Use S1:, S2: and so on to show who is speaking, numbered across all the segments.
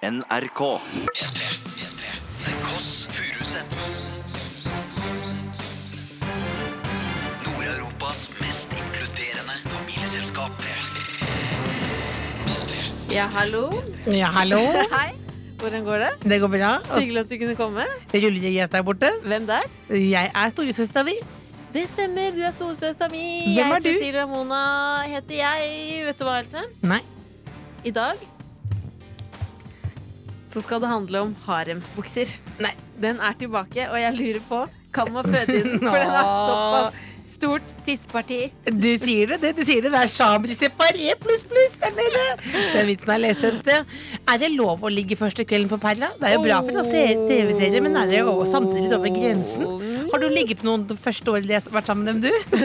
S1: NRK. The Kåss Furuseths. Nord-Europas mest inkluderende familieselskap.
S2: Ja, hallo.
S3: Ja, hallo.
S2: Hei. Hvordan går det?
S3: Det går bra.
S2: Så hyggelig at du kunne komme.
S3: Rullegjet er borte.
S2: Hvem der?
S3: Jeg er storesøstera di.
S2: Det stemmer, du er solsøstera mi.
S3: Hvem
S2: jeg
S3: er
S2: heter
S3: du?
S2: Silja Mona, heter jeg. Vet du hva, Else?
S3: Nei.
S2: I dag så skal det handle om haremsbukser.
S3: Nei.
S2: Den er tilbake, og jeg lurer på Kan man føde inn? For den er såpass stort tisseparti.
S3: Du sier det, det, du sier det. Det er chambre separé pluss pluss der nede. Den vitsen har jeg lest et sted. Er det lov å ligge første kvelden på Perla? Det er jo bra for å se TV-serier, men er det jo også samtidig litt over grensen? Har du ligget med noen det første året de har vært sammen med dem, du?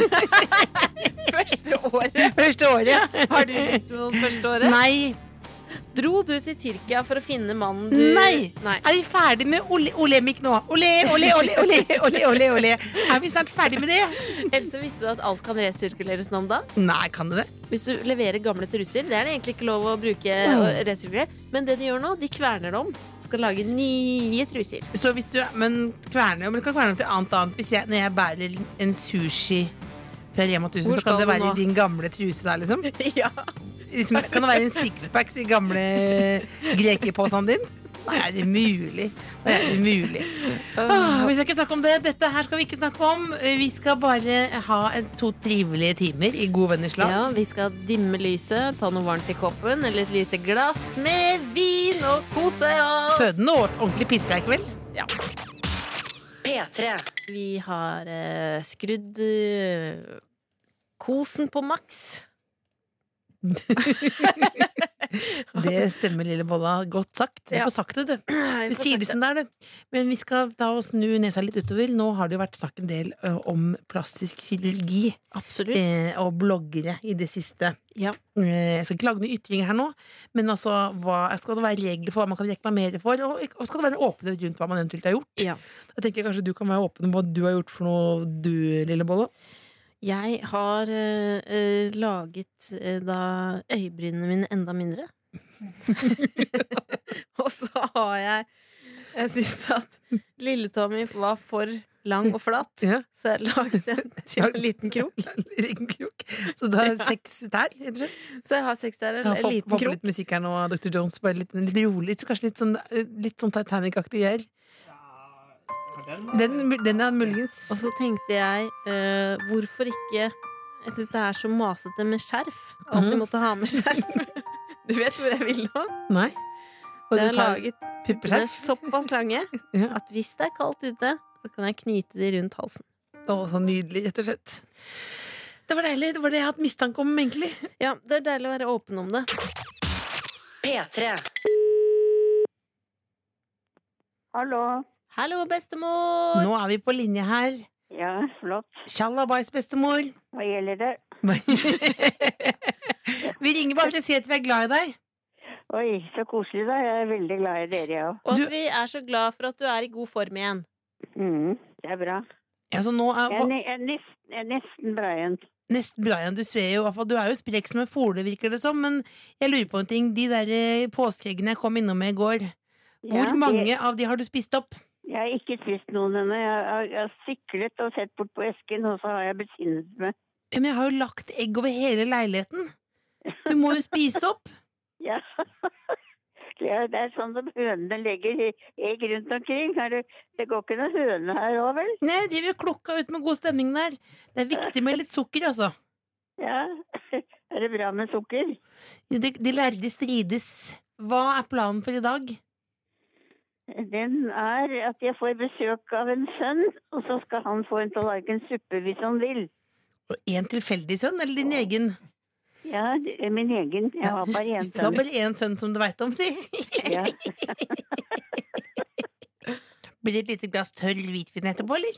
S2: Første året.
S3: Første året?
S2: Har du gjort noe første året?
S3: Nei.
S2: Dro du til Tyrkia for å finne mannen du
S3: Nei.
S2: Nei.
S3: Er vi ferdig med ole- olemikk nå? Ole, ole, ole, ole, ole, ole, ole. Er vi snart ferdig med det?
S2: Else, visste du at alt kan resirkuleres nå om dagen?
S3: Nei, kan du det?
S2: Hvis du leverer gamle truser, det er det egentlig ikke lov å bruke og resirkulere. Men det de gjør nå, de kverner det om. Skal lage nye truser.
S3: Så hvis du, men kverne, men du kan kverne om til annet annet Hvis jeg, når jeg bærer en sushi fra Rema 1000,
S2: Hvor
S3: så
S2: skal
S3: kan
S2: du
S3: det være
S2: nå?
S3: i din gamle truse der, liksom?
S2: Ja.
S3: liksom kan det være en sixpacks i gamle grekepåsen din? Nei, er det mulig? Nei, er det mulig?
S2: Ah,
S3: Åh, vi skal ikke snakke om det. Dette her skal vi ikke snakke om. Vi skal bare ha en, to trivelige timer i god venners lag.
S2: ja, vi skal dimme lyset, ta noe varmt i koppen eller et lite glass med vin og kose oss.
S3: Føden og ordentlig pisspreik, vel?
S2: Vi har eh, skrudd eh, kosen på maks.
S3: Det stemmer, lille bolla. Godt sagt. Du
S2: Ja.
S3: får sagt det, du.
S2: Vi
S3: Vi sier det
S2: det.
S3: som det er, det. Men vi skal da snu nesa litt utover. Nå har det jo vært snakk en del ø, om plastisk kirurgi
S2: Absolutt.
S3: eh, og bloggere i det siste.
S2: Ja.
S3: Eh, jeg skal ikke lage noen ytringer her nå, men altså, hva, skal det være regler for hva man kan reklamere for, og, og skal det være åpenhet rundt hva man eventuelt har gjort?
S2: Ja.
S3: Da tenker jeg kanskje du kan være åpen om hva du har gjort for noe, du, lille Bolle.
S2: Jeg har eh, eh, laget eh, da øyebrynene mine enda mindre. og så har jeg Jeg syns at lille-Tommy var for lang og flat,
S3: Ja.
S2: så jeg laget en til en liten krok.
S3: Liten krok. Så du har seks der, rett og slett?
S2: Så jeg har seks der,
S3: Ja,
S2: en
S3: få,
S2: liten
S3: få på
S2: krok.
S3: litt musikk her nå, Dr. Jones. Bare litt, litt rolig. Så kanskje litt sånn, litt sånn Titanic-aktig gjør. Den, den er muligens
S2: Og så tenkte jeg eh, hvorfor ikke Jeg syns det er så masete med skjerf. Alltid
S3: Mhm.
S2: måtte ha med skjerf. Du vet hvor jeg vil nå?
S3: Nei.
S2: Så
S3: Og
S2: jeg har
S3: du tar
S2: laget puppene
S3: puppeskjerf?
S2: såpass lange
S3: Ja.
S2: at hvis det er kaldt ute, så kan jeg knyte de rundt halsen.
S3: Å, så nydelig, rett og slett. Det var deilig. Det var det jeg hadde hatt mistanke om, egentlig.
S2: Ja, det er deilig å være åpen om det.
S4: Hallo.
S2: Hallo, bestemor!
S3: Nå er vi på linje her.
S4: Ja, flott.
S3: Tjallabais, bestemor.
S4: Hva gjelder det?
S3: vi ringer bare for å si at vi er glad i deg.
S4: Oi, så koselig da. Jeg er veldig glad i dere, jeg òg.
S2: Og
S3: Du-
S2: at vi er så glad for at du er i god form igjen.
S4: Mm, det er bra.
S3: Ja, så nå er,
S4: Jeg er, ne- jeg er, nesten, jeg er nesten bra igjen.
S3: Nesten Brian, du ser jo, i hvert fall- du er jo sprek som en fole, virker det som, men jeg lurer på en ting. De der eh, påskeeggene jeg kom innom med i går, hvor
S4: Ja,
S3: mange
S4: Jeg,
S3: av de har du spist opp?
S4: jeg har ikke spist noen ennå. Jeg, har- jeg har syklet og sett bort på esken, og så har jeg besinnet meg.
S3: Ja, men jeg har jo lagt egg over hele leiligheten. Du må jo spise opp.
S4: Ja. Det er, det er sånn som hønene legger i- egg rundt omkring. Er det, det går ikke noen høne her òg, vel?
S3: Nei, jeg driver jo klokka ut med god stemning der. Det er viktig med litt sukker, altså.
S4: Ja. Er det bra med sukker?
S3: De, de lærde strides. Hva er planen for i dag?
S4: Den er at jeg får besøk av en sønn, og så skal han få en tallerken suppe hvis han vil.
S3: En tilfeldig sønn, eller din egen?
S4: Ja, det er min egen. Jeg har bare én
S3: Du har
S4: sønn.
S3: bare én sønn som du veit om, si.
S4: Ja.
S3: Blir det et lite glass tørr hvitvin etterpå, eller?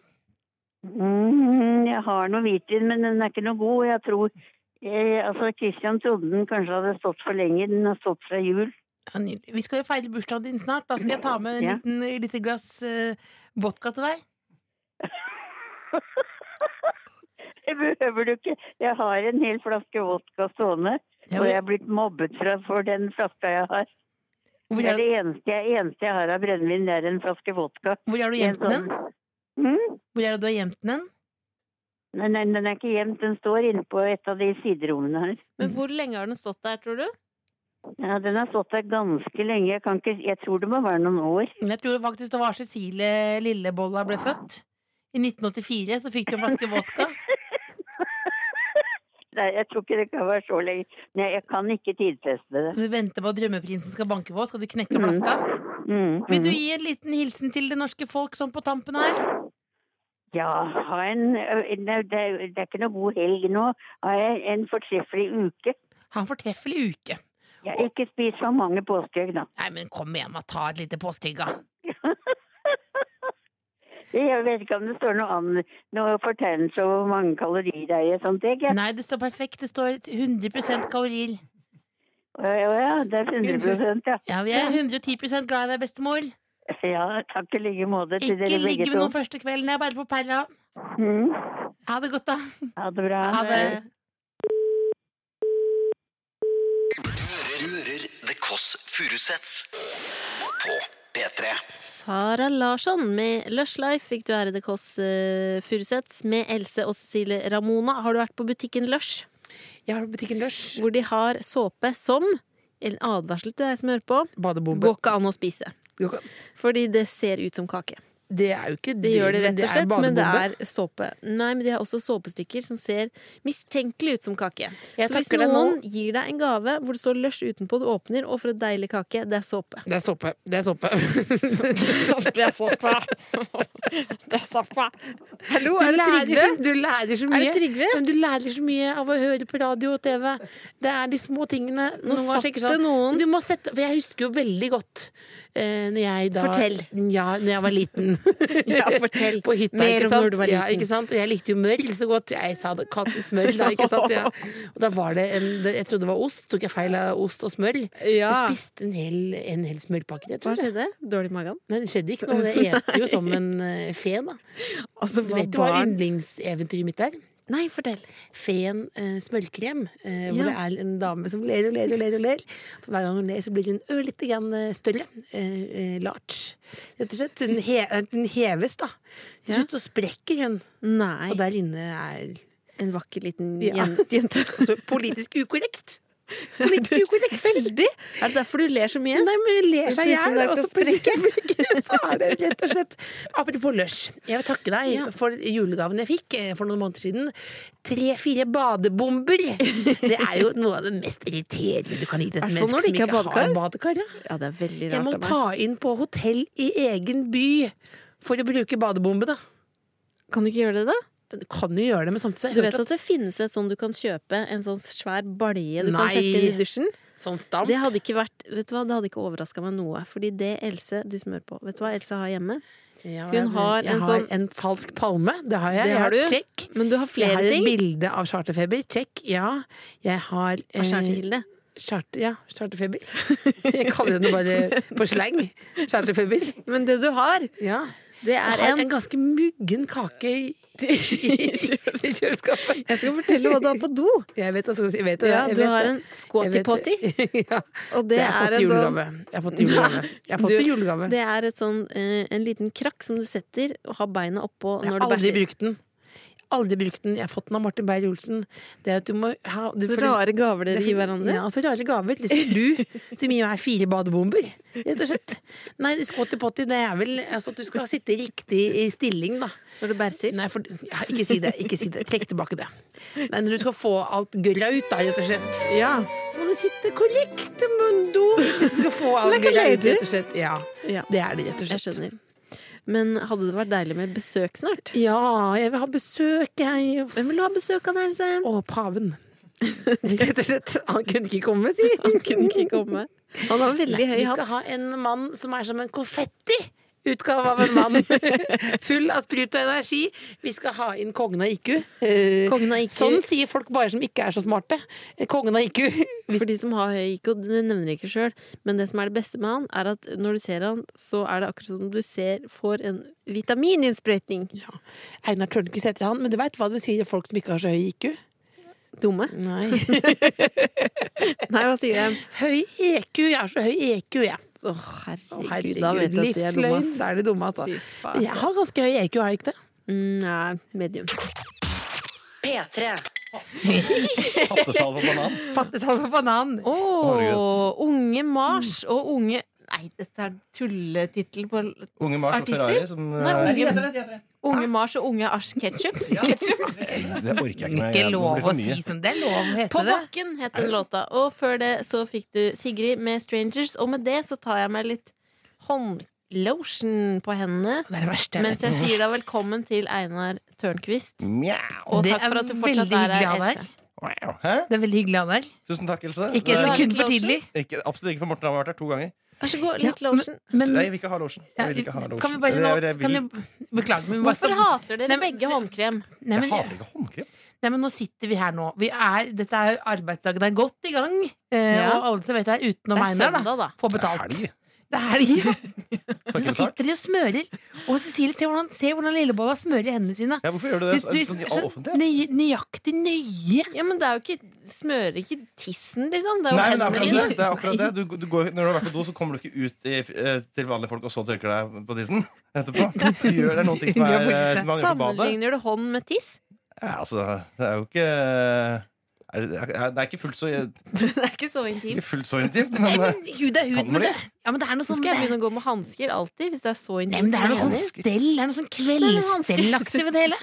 S4: Mm, jeg har noe hvitvin, men den er ikke noe god. Jeg tror eh, Altså, Christian trodde den kanskje hadde stått for lenge. Den har stått fra jul.
S3: Ja, nydelig. Vi skal jo feire bursdagen din snart. Da skal jeg ta med en
S4: Ja.
S3: liten, lite glass eh, vodka til deg.
S4: Det behøver du ikke. Jeg har en hel flaske vodka stående, og jeg er blitt mobbet fra, for den flaska jeg har.
S5: Hvor
S4: Det er
S5: er,
S4: det eneste jeg, eneste jeg har av brennevin, det er en flaske vodka.
S5: hvor er du
S4: I en
S5: gjemt den?
S4: sånn- Mm?
S5: Hvor er det du har gjemt den?
S4: Nei, nei, den er ikke gjemt. Den står inne på et av de siderommene her.
S2: Men hvor lenge har den stått der, tror du?
S4: Ja, Den har stått der ganske lenge. Jeg, kan ikke, jeg tror det må være noen år.
S5: Jeg tror faktisk det var Cecilie Lillebolla ble født. I 1984 så fikk du en flaske vodka.
S4: Nei, jeg tror ikke det kan være så lenge. Nei, jeg kan ikke tidfeste det.
S5: Så du venter på at drømmeprinsen skal banke på, skal du knekke flaska?
S4: Mm,
S5: Vil du
S4: mm.
S5: gi en liten hilsen til det norske folk sånn på tampen her?
S4: Ja, ha en Nei, det, er- det er ikke noe god helg nå. Ha en, en fortreffelig uke.
S5: Ha en fortreffelig uke.
S4: Ja, ikke spis for mange påskeegg, da.
S5: Nei, men kom igjen, da. Ta et lite påskeegg, da.
S4: Jeg vet ikke om det står noe annet, noe fortegnelse over hvor mange kalorier det er i et sånt egg. jeg.
S5: Nei, det står perfekt. Det står 100 kalorier.
S4: Å ja, å ja, det er 100 ja.
S5: Ja, vi er 110 glad i deg, bestemor.
S4: Ja, takk i like måte til
S5: Ikke
S4: dere
S5: ligg
S4: begge
S5: med
S4: to.
S5: noen første kvelden. Jeg er bare på perla.
S4: Mm.
S5: Ha det godt, da.
S4: Ha det bra.
S5: Ha det.
S2: Eh,
S1: Du hører The Kåss Furuseths på P3.
S2: Sara Larsson med Lush Life fikk du her i The Kåss eh, Furuseths med Else og Cecilie Ramona. Har du vært på butikken Lush,
S5: Jeg har butikken Lush.
S2: hvor de har såpe som en advarsel til deg som hører på.
S5: Badebombe.
S2: Går ikke an å spise.
S5: Gå-
S2: Fordi det ser ut som kake.
S5: Det er jo ikke
S2: Det gjør det
S5: men
S2: rett og slett, men det
S5: badebombe.
S2: er såpe. Nei, men de har også såpestykker som ser mistenkelig ut som kake.
S5: Jeg
S2: så hvis
S5: takker deg
S2: noen gir deg en gave hvor det står lush utenpå, du åpner, og for et deilig kake, det er såpe.
S5: Det er såpe. Det er såpe.
S6: Det er såpa. Det er såpa. Hallo,
S5: Du
S6: er det
S5: lærer,
S6: Trygve?
S5: så, du lærer så
S2: Er
S5: mye.
S2: det Trygve?
S5: Men du lærer så mye av å høre på radio og TV. Det er de små tingene.
S2: Nå
S5: Noen ganger
S2: satt
S5: tenker
S2: det
S5: jeg sånn,
S2: noen
S5: Du må sette For jeg husker jo veldig godt eh, når jeg da
S2: Fortell.
S5: Ja, når jeg var liten.
S2: Ja, fortell.
S5: På hytta,
S2: Mer
S5: ikke
S2: om
S5: sant?
S2: når du var
S5: Ja,
S2: liten.
S5: ikke sant? Og jeg likte jo mørl så godt. Jeg sa det kalt smørl da, ikke sant? Ja. Og da var det en det- Jeg trodde det var ost. Tok jeg feil av ost og smørl? Jeg spiste en hel, en hel smørpakke. Jeg
S2: Hva
S5: tror det.
S2: skjedde? Dårlig i magen?
S5: Men det skjedde ikke noe. Jeg este jo som en eh, fe, da. Du vet jo Altså, hva yndlingseventyret mitt er?
S2: Nei, fortell.
S5: Feen eh, smørkrem, eh, hvor
S2: Ja.
S5: det er en dame som ler og ler og ler. og ler For hver gang hun ler, så blir hun ørlite grann eh, større. Eh, eh, large, rett og slett. Hun, he hun heves, da. Til
S2: Ja.
S5: slutt så sprekker hun,
S2: Nei.
S5: og der inne er
S2: En vakker liten
S5: Ja.
S2: jen- jente.
S5: altså, politisk ukorrekt. Politisk ukorrekt. Veldig!
S2: Er det derfor du ler så mye?
S5: Nei, men hun ler seg i
S2: Plutselig er
S5: hjel,
S2: det
S5: og så
S2: så sprekker.
S5: sprekker Så er det rett og slett Apropos lunsj. Jeg vil takke deg for julegaven jeg fikk eh, for noen måneder siden. Tre-fire badebomber! Det er jo noe av det mest irriterende du kan gi til et
S2: Hvertfall
S5: menneske
S2: når det
S5: som
S2: ikke
S5: ikke
S2: er badekar.
S5: har badekar. Ja.
S2: Ja, det er veldig
S5: Jeg
S2: rart
S5: må
S2: av meg.
S5: ta inn på hotell i egen by for å bruke badebombe, da.
S2: Kan du ikke gjøre det, da?
S5: Du kan jo gjøre det, men samtidig
S2: Du vet at det finnes et sånn du kan kjøpe, en sånn svær balje du
S5: Nei.
S2: kan sette inn i dusjen?
S5: Sånn stamp.
S2: Det hadde ikke vært, vet du hva, det hadde ikke overraska meg noe. Fordi det Else du smører på Vet du hva Else har hjemme?
S5: Ja,
S2: hun har
S5: jeg
S2: en
S5: har
S2: sånn-
S5: en falsk palme. Det har jeg.
S2: Det
S5: jeg
S2: har
S5: har
S2: du.
S5: Check.
S2: Men du har flere
S5: jeg har
S2: ting.
S5: et bilde av charterfeber. Check. Ja. Jeg har
S2: Hva skjer til
S5: eh,
S2: Hilde?
S5: charter, Ja, charterfeber. Jeg kaller henne bare på slang. Charterfeber.
S2: Men det du har,
S5: Ja.
S2: det
S5: Jeg
S2: er
S5: har
S2: en
S5: en ganske muggen kake i, i i kjøleskapet.
S2: Jeg skal fortelle hva du har på do.
S5: Jeg vet det. Jeg vet det.
S2: Ja,
S5: jeg
S2: du
S5: vet
S2: har
S5: det.
S2: en
S5: Jeg
S2: squatty
S5: vet
S2: potty.
S5: ja.
S2: Og
S5: Det
S2: det
S5: har jeg
S2: er
S5: fått i
S2: en sånn
S5: julegave. Jeg har fått i julegave. Jeg har fått
S2: Du-
S5: i julegave.
S2: det er et sånn, eh, en liten krakk som du setter og har beina oppå
S5: Jeg
S2: når
S5: har
S2: du
S5: aldri
S2: bæsjer.
S5: brukt den. Aldri brukt den. Jeg har fått den av Martin Beyer-Olsen. Det er at du må ha du får-
S2: Rare gaver dere
S5: Det er
S2: gir
S5: for-
S2: hverandre.
S5: Ja, altså rare gaver. Liksom du som gir meg fire badebomber, rett og slett. Nei, squatty potty, det er vel altså, at du skal sitte riktig i stilling, da.
S2: Når du bæsjer.
S5: Nei, for, ja, ikke si det. Ikke si det. Trekk tilbake det. Nei, når du skal få alt gørra ut, da, rett og slett,
S2: Ja.
S5: så må du sitte korrekt mundo hvis du skal få alt
S2: Like a
S5: gørra ut,
S2: lady.
S5: rett og slett. Ja,
S2: ja.
S5: det er det, rett og
S2: Jeg
S5: slett.
S2: skjønner. Men hadde det vært deilig med besøk snart?
S5: Ja, jeg vil ha besøk, jeg.
S2: Hvem vil du ha besøk av, Else?
S5: Og paven. Rett og slett. Han kunne ikke komme, si.
S2: Han kunne ikke komme. Han har veldig høy
S5: Vi skal
S2: hatt.
S5: ha en mann som er som en konfetti. Utgave av en mann full av sprut og energi. Vi skal ha inn kongen av IQ. Eh,
S2: Kongen av IQ.
S5: Sånn sier folk bare som ikke er så smarte. Eh, Kongen av IQ. Hvis,
S2: For de som har høy IQ, det nevner jeg ikke sjøl, men det som er det beste med han, er at når du ser han, så er det akkurat som du ser får en vitamininnsprøytning.
S5: Einar Tørnquist heter han, men du veit hva de sier om folk som ikke har så høy IQ?
S2: Dumme.
S5: Nei.
S2: Nei, hva sier jeg?
S5: E Høy EQ. Jeg har så høy EQ, jeg.
S2: Å, herregud,
S3: Herregud,
S2: da vet jeg at det er
S3: livsløgn.
S2: dummest.
S3: Det er det dumme, altså.
S2: Fy faen,
S3: Jeg har ganske høy
S2: E
S3: EQ, er det ikke det?
S2: Mm, nei, medium.
S7: P3.
S8: Pattesalve og banan.
S3: Pattesalve og banan.
S2: Å,
S8: Herregud.
S2: Unge Mars
S3: Mm.
S2: og Unge Nei, dette er tulletittel på
S8: Unge Mars og
S2: Artister?
S8: Ferrari. Som,
S2: Nei,
S8: eh,
S2: unge, unge Mars og Unge Ars Ketchup.
S8: det orker jeg ikke.
S3: Ikke
S8: jeg- det blir
S3: lov
S8: for
S3: å
S8: mye.
S3: si sånn. Det er lov å
S2: På
S3: hete det.
S2: bakken het den låta. Og før det så fikk du Sigrid med 'Strangers'. Og med det så tar jeg meg litt håndlotion på hendene
S3: Det er det verste jeg
S2: mens jeg
S3: vet.
S2: sier da velkommen til Einar Tørnquist.
S8: Mjau.
S2: Og
S3: Det
S2: takk
S3: er
S2: for at du fortsatt
S3: veldig
S2: er her,
S3: hyggelig av deg.
S2: Else.
S8: Hæ?
S3: Det er veldig hyggelig av deg.
S8: Tusen takk, Else.
S3: Ikke
S8: Det
S3: et
S8: er
S2: Nei.
S3: sekund for tidlig.
S8: ikke, absolutt ikke for Morten. Han har vært her to ganger.
S2: Vær så god,
S3: Ja,
S2: litt lotion.
S3: Men
S8: Nei, jeg vil ikke ha losjen. Jeg vil ikke ha
S3: kan vi
S8: lotion.
S3: bare nå
S8: Eller, jeg, vil-
S3: kan du, Beklager, men vi bare
S2: Hvorfor
S3: skal-
S2: hater dere
S3: Nei, men-
S2: begge håndkrem?
S3: Nei, men,
S8: jeg hater ikke håndkrem.
S3: nei, men nå sitter vi her nå. Vi er, dette er arbeidsdagen er godt i gang. Eh,
S2: Ja.
S3: Og alle som vet det er utenom
S2: Det er
S3: Einar, da,
S2: søndag, da.
S3: får
S8: Det er
S3: betalt.
S8: helg.
S3: Det er helg. ja. Så
S8: Får ikke betalt.
S3: sitter de og smører. Og Cecilie, se hvordan, se hvordan lillebolla smører hendene sine.
S8: Ja, hvorfor gjør du
S3: Du,
S8: det
S3: du,
S8: sånn i all
S3: sånn
S8: offentlighet?
S3: nøy- nøyaktig nøye.
S2: Ja, men det er jo ikke Smører ikke tissen, liksom. Det er jo
S8: Nei, men det
S2: hendene
S8: er akkurat
S2: dine.
S8: det. det, er akkurat det. Du, du går, når du har vært på do, så kommer du ikke ut i, eh, til vanlige folk og så tørker deg på tissen etterpå. Du gjør det noen ting som er eh, som angrer på badet.
S2: Sammenligner du hånd med tiss?
S8: Ja, altså, det er jo ikke er det, er- det er ikke fullt så,
S2: Det er ikke så intimt.
S8: ikke fullt så intimt, men eh,
S3: Hud er hud,
S8: Kan man
S3: men det,
S8: det?
S3: ja, men det er noe
S2: Så
S3: sånn
S2: skal jeg begynne å gå med hansker alltid, hvis det er så
S3: Nei, men
S2: intimt.
S3: det er noe sånn
S2: Enig?
S3: stell, det er noe sånn
S2: noen hansker.
S3: kveldsstellaktig ved det hele.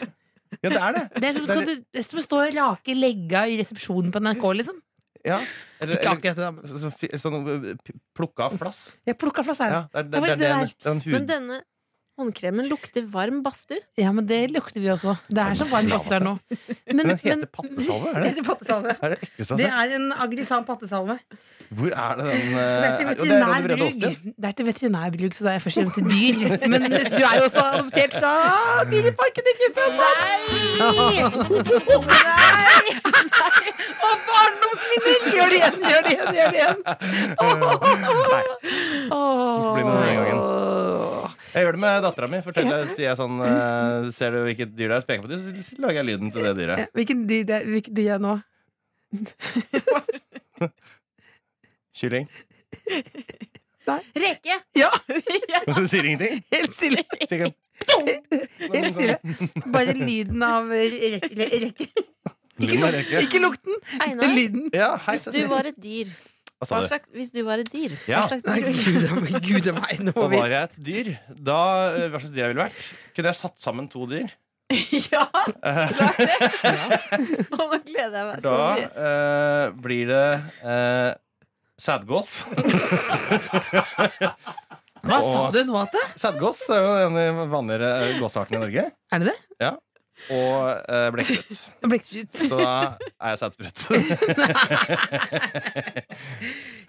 S8: ja, det er det.
S3: Det er som, skal du, det er som å stå og rake legga i resepsjonen på NRK, liksom.
S8: Ja. Eller,
S3: Ikke
S8: eller
S3: akkurat det, da, men
S8: så- så fi- sånn eh, p- plukka av flass.
S3: Jeg plukka flass her.
S8: Ja, det er det, det, er det, en- det er en
S2: Men
S8: hud.
S2: denne håndkremen lukter varm badstue.
S3: Ja, men det lukter vi også. Det er så varm basse her nå. Men,
S8: Men den heter pattesalve, er det?
S3: Heter pattesalve.
S8: Er det ekleste
S3: Det
S8: jeg har sett?
S3: er en agrisan pattesalve.
S8: Hvor er det den
S3: Det
S8: eh,
S3: er til
S8: er- jo, det er Ronny Brede
S3: veterinærbruk.
S8: Aasli.
S3: Det er til veterinærbruk, så det er først og fremst til dyr. Men du er jo også adoptert fra Dyreparken i Kristiansand! Nei! Og barndomsminner! Gjør det igjen, gjør det igjen, gjør det igjen!
S8: Nei,
S3: Åh.
S8: bli med denne gangen. Jeg gjør det med dattera mi. Sier jeg sånn eh, Ser du hvilket dyr det er, så peker jeg på det, så lager jeg lyden til det dyret.
S3: Hvilken dyr det er, hvilken dyr er nå?
S8: Kylling.
S2: Reke!
S3: Ja,
S8: Du sier ingenting?
S3: helt stille.
S8: Sier ikke
S3: Helt stille. Bare lyden av rekke. rekke. Ikke,
S8: Lyden av røyke.
S3: ikke lukten, men
S2: Einar,
S3: lyden.
S8: Ja, hei,
S2: hvis du
S8: Cecilie.
S2: var et dyr,
S8: Hva sa
S2: hva
S8: du?
S2: slags, hvis du var et dyr, hva
S8: Ja.
S2: slags
S3: Nei,
S2: dyr?
S3: gud a meg, gud a meg. Nå må
S8: Og
S3: vi
S8: var jeg et dyr, da eh, hva slags dyr jeg ville vært? Kunne jeg satt sammen to dyr?
S2: Ja, klart det! Og nå gleder jeg meg så
S8: Da
S2: mye.
S8: eh, blir det uh, sædgås.
S3: Hva sa du nå, Ate?
S8: Sædgås er jo en av de vanligere eh, gåseartene i Norge.
S3: Er det det?
S8: Og uh, blekksprut.
S3: Blekksprut.
S8: Så da er jeg sædsprut.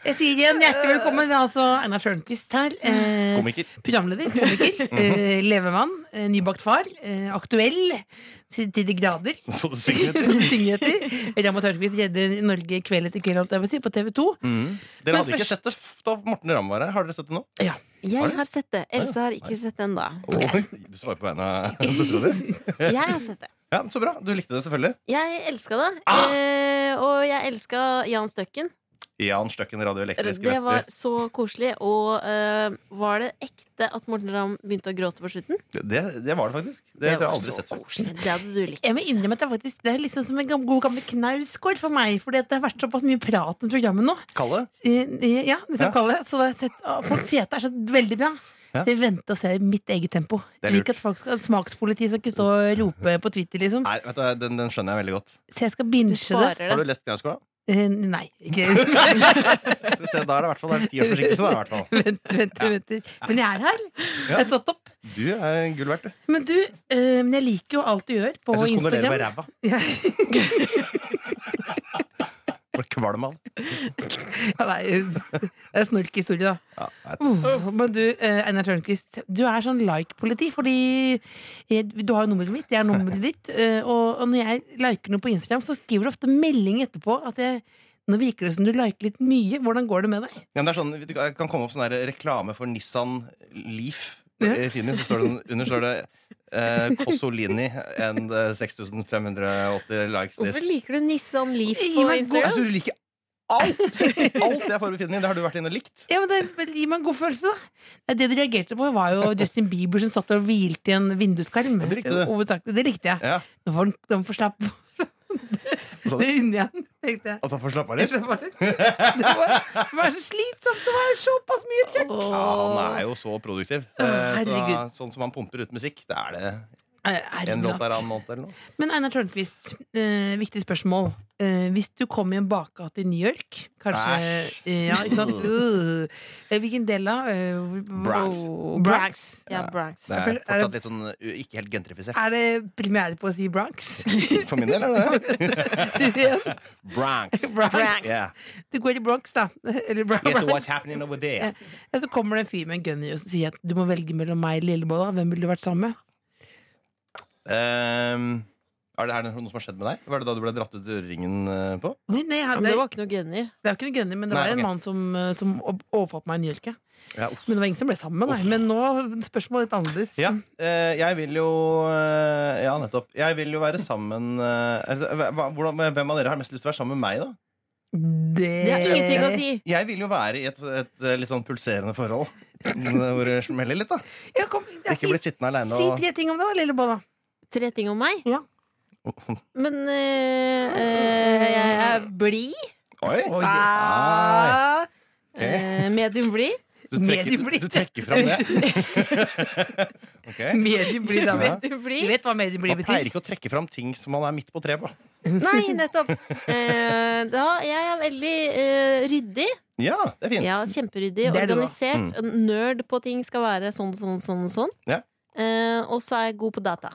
S3: Jeg sier igjen hjertelig velkommen. Det er altså Einar Sjørenquist her. Eh,
S8: Komiker.
S3: programleder, komiker,
S8: Mm.
S3: eh, levemann, eh, nybakt far, eh, aktuell til til de grader.
S8: Så du synger litt.
S3: Som du synger etter. Ramat Tørnquist redder Norge kveld etter kveld, holdt jeg på å si, på TV 2.
S8: Mm. Dere
S3: Men
S8: hadde ikke
S3: først-
S8: sett det f- da Morten Ramm var her. Har dere sett det nå? Har
S2: Jeg
S8: du?
S2: har sett det. Else har ikke sett det ennå.
S8: Oi, du svarer på vegne av søstera di.
S2: Jeg har sett det.
S8: Ja, men så bra. Du likte det selvfølgelig.
S2: Jeg elska det. Eh, og jeg elska Jan Støkken.
S8: Jan Støkken, radioelektriske
S2: Det var
S8: Vestby.
S2: så koselig. Og eh, var det ekte at Morten Ramm begynte å gråte på slutten?
S8: Det, det var det faktisk. Det,
S2: Det
S8: tror
S2: var
S8: jeg aldri
S2: så
S8: sett før.
S2: Det hadde du likt.
S3: Jeg må innrømme at det er, faktisk, det er liksom som en gam- god gammel knausgård for meg, fordi at det har vært såpass mye prat om programmet nå.
S8: Kalle?
S3: Eh, eh, Ja, det skal
S8: Ja.
S3: jeg kalle det. Så jeg har sett, å, folk sier at det er så veldig bra.
S8: Ja.
S3: Så jeg venter og ser i mitt eget tempo.
S8: Det er
S3: Jeg
S8: lurt.
S3: liker at folk skal, Smakspolitiet skal ikke stå og rope på Twitter, liksom.
S8: Nei, vet du, hva, den, den skjønner jeg veldig godt.
S3: Så jeg skal
S2: Du
S3: binge det.
S2: sparer
S8: Har
S2: det.
S8: du lest Knausgård, da?
S3: Eh, Nei, ikke
S8: Skal vi se, da er det i hvert fall det er en tiårsforsinkelse. da, i hvert fall.
S3: Vent, venter, venter. Men jeg er her. Jeg har stått opp.
S8: Du er gull verdt, du.
S3: Men du, eh, men jeg liker jo alt du gjør på
S8: Jeg syns kondolerer med
S3: Instagram.
S8: ræva.
S3: Ja,
S8: Var kvalm av det.
S3: nei, det er snork historie, da.
S8: Ja, jeg vet.
S3: Uh, Men du, eh, Einar Tørnquist, du er sånn like-politi, fordi jeg, du har jo nummeret mitt, jeg har nummeret ditt, eh, og, og når jeg liker noe på Instagram, så skriver du ofte melding etterpå at jeg nå virker det som du liker litt mye. Hvordan går det med deg?
S8: Ja, men det er sånn, vet du hva, det kan komme opp sånn her reklame for Nissan Leaf. I Finland, så står det, sånn, under står det eh, Cosolini and eh, 6580 likes this.
S2: Hvorfor liker du Nissan Leaf
S3: Gi
S2: sånn på
S3: meg
S2: Instagram?
S8: Jeg tror du liker alt! Alt jeg får befinne meg i, det har du vært inne og likt.
S3: Ja, men det, men Gi meg en god følelse, da. Nei, Det du reagerte på, var jo Justin Bieber som satt og hvilte i en vinduskarm.
S8: Ja, det likte du.
S3: Hovedsakelig. Det likte jeg.
S8: Ja.
S3: Nå får han, nå får slapp.
S8: sa du?
S3: Det unner jeg han, tenkte jeg.
S8: At han får slappe av litt.
S3: Det var, litt- det var, det var så slitsomt. Det var såpass mye trøkk.
S8: Ja, han er jo så produktiv.
S3: Å,
S8: Eh, så,
S3: herregud.
S8: sånn som han pumper ut musikk, det er det
S3: Nei,
S8: en låt
S3: herregud.
S8: hver annen måned eller noe.
S3: Men Einar Tørnquist, eh, viktig spørsmål. Eh, hvis du kom i en bakgate i New York, kanskje
S8: Æsj.
S3: eh, ja, ikke sant? Uh, eh, Hvilken del av eh,
S8: Bronx.
S3: oh, Bronx.
S2: Ja, Bronx.
S8: Det
S3: for-
S8: er
S3: er
S8: fortsatt litt sånn uh, ikke helt gentrifisert.
S3: Er det premiere på å si Bronx?
S8: For min del er det det.
S3: Sier du igjen?
S8: Bronx.
S3: Bronx.
S8: Yeah.
S3: Du går i Bronx, da. Eller Bro-
S8: Guess
S3: Bronx.
S8: what's happening over there?
S3: Ja, så kommer det en fyr med en gunner og sier at du må velge mellom meg og Lillebolla. Hvem ville du vært sammen med?
S8: Ehm, er det, er det noe som har skjedd med deg? Var det da du ble dratt ut ur ringen eh, på?
S3: Nei, nei,
S2: Ja, men
S3: det,
S2: det
S3: var,
S2: var ikke noe gunner.
S3: det er jo ikke en gunner, men det
S8: Nei,
S3: var
S8: ok.
S3: en mann som, eh, som opp- overfalt meg i New York. ja.
S8: Ja, uff.
S3: Men det var ingen som ble sammen med meg. Men nå spørsmålet litt annerledes.
S8: Ja, eh, jeg vil jo eh, Ja, nettopp. Jeg vil jo være sammen eh, eller, hva, hvordan, Hvem av dere har mest lyst til å være sammen med meg, da?
S3: Det,
S2: Det er ingenting å si!
S8: Jeg vil jo være i et, et eh, litt sånn pulserende forhold. Hvor det smeller litt, da.
S3: Ja, kom, ja, si,
S8: Ikke bli sittende aleine
S3: si
S8: og
S3: tre ting om det, da, Lillebolla.
S2: Tre ting om meg.
S3: Ja.
S2: Men eh, eh, jeg er blid.
S8: Oi!
S2: Ah,
S8: Ah, ok.
S2: eh, medium blid.
S8: Du trekker,
S3: medieblikk.
S8: du trekker fram det. Ok
S3: Medium blir da.
S8: Ja.
S2: Medium
S3: Du
S2: blid.
S3: vet hva medium blir
S8: Man pleier
S3: betyr?
S8: ikke å trekke fram ting som man er midt på treet på.
S2: Nei, nettopp. Eh, da, jeg er veldig eh, ryddig.
S8: Ja, det er fint.
S2: Ja, kjemperyddig.
S3: Det er du
S2: Organisert. Nerd på ting skal være sånn, sånn, sånn. sånn.
S8: Ja.
S2: Eh, og så er jeg god på data.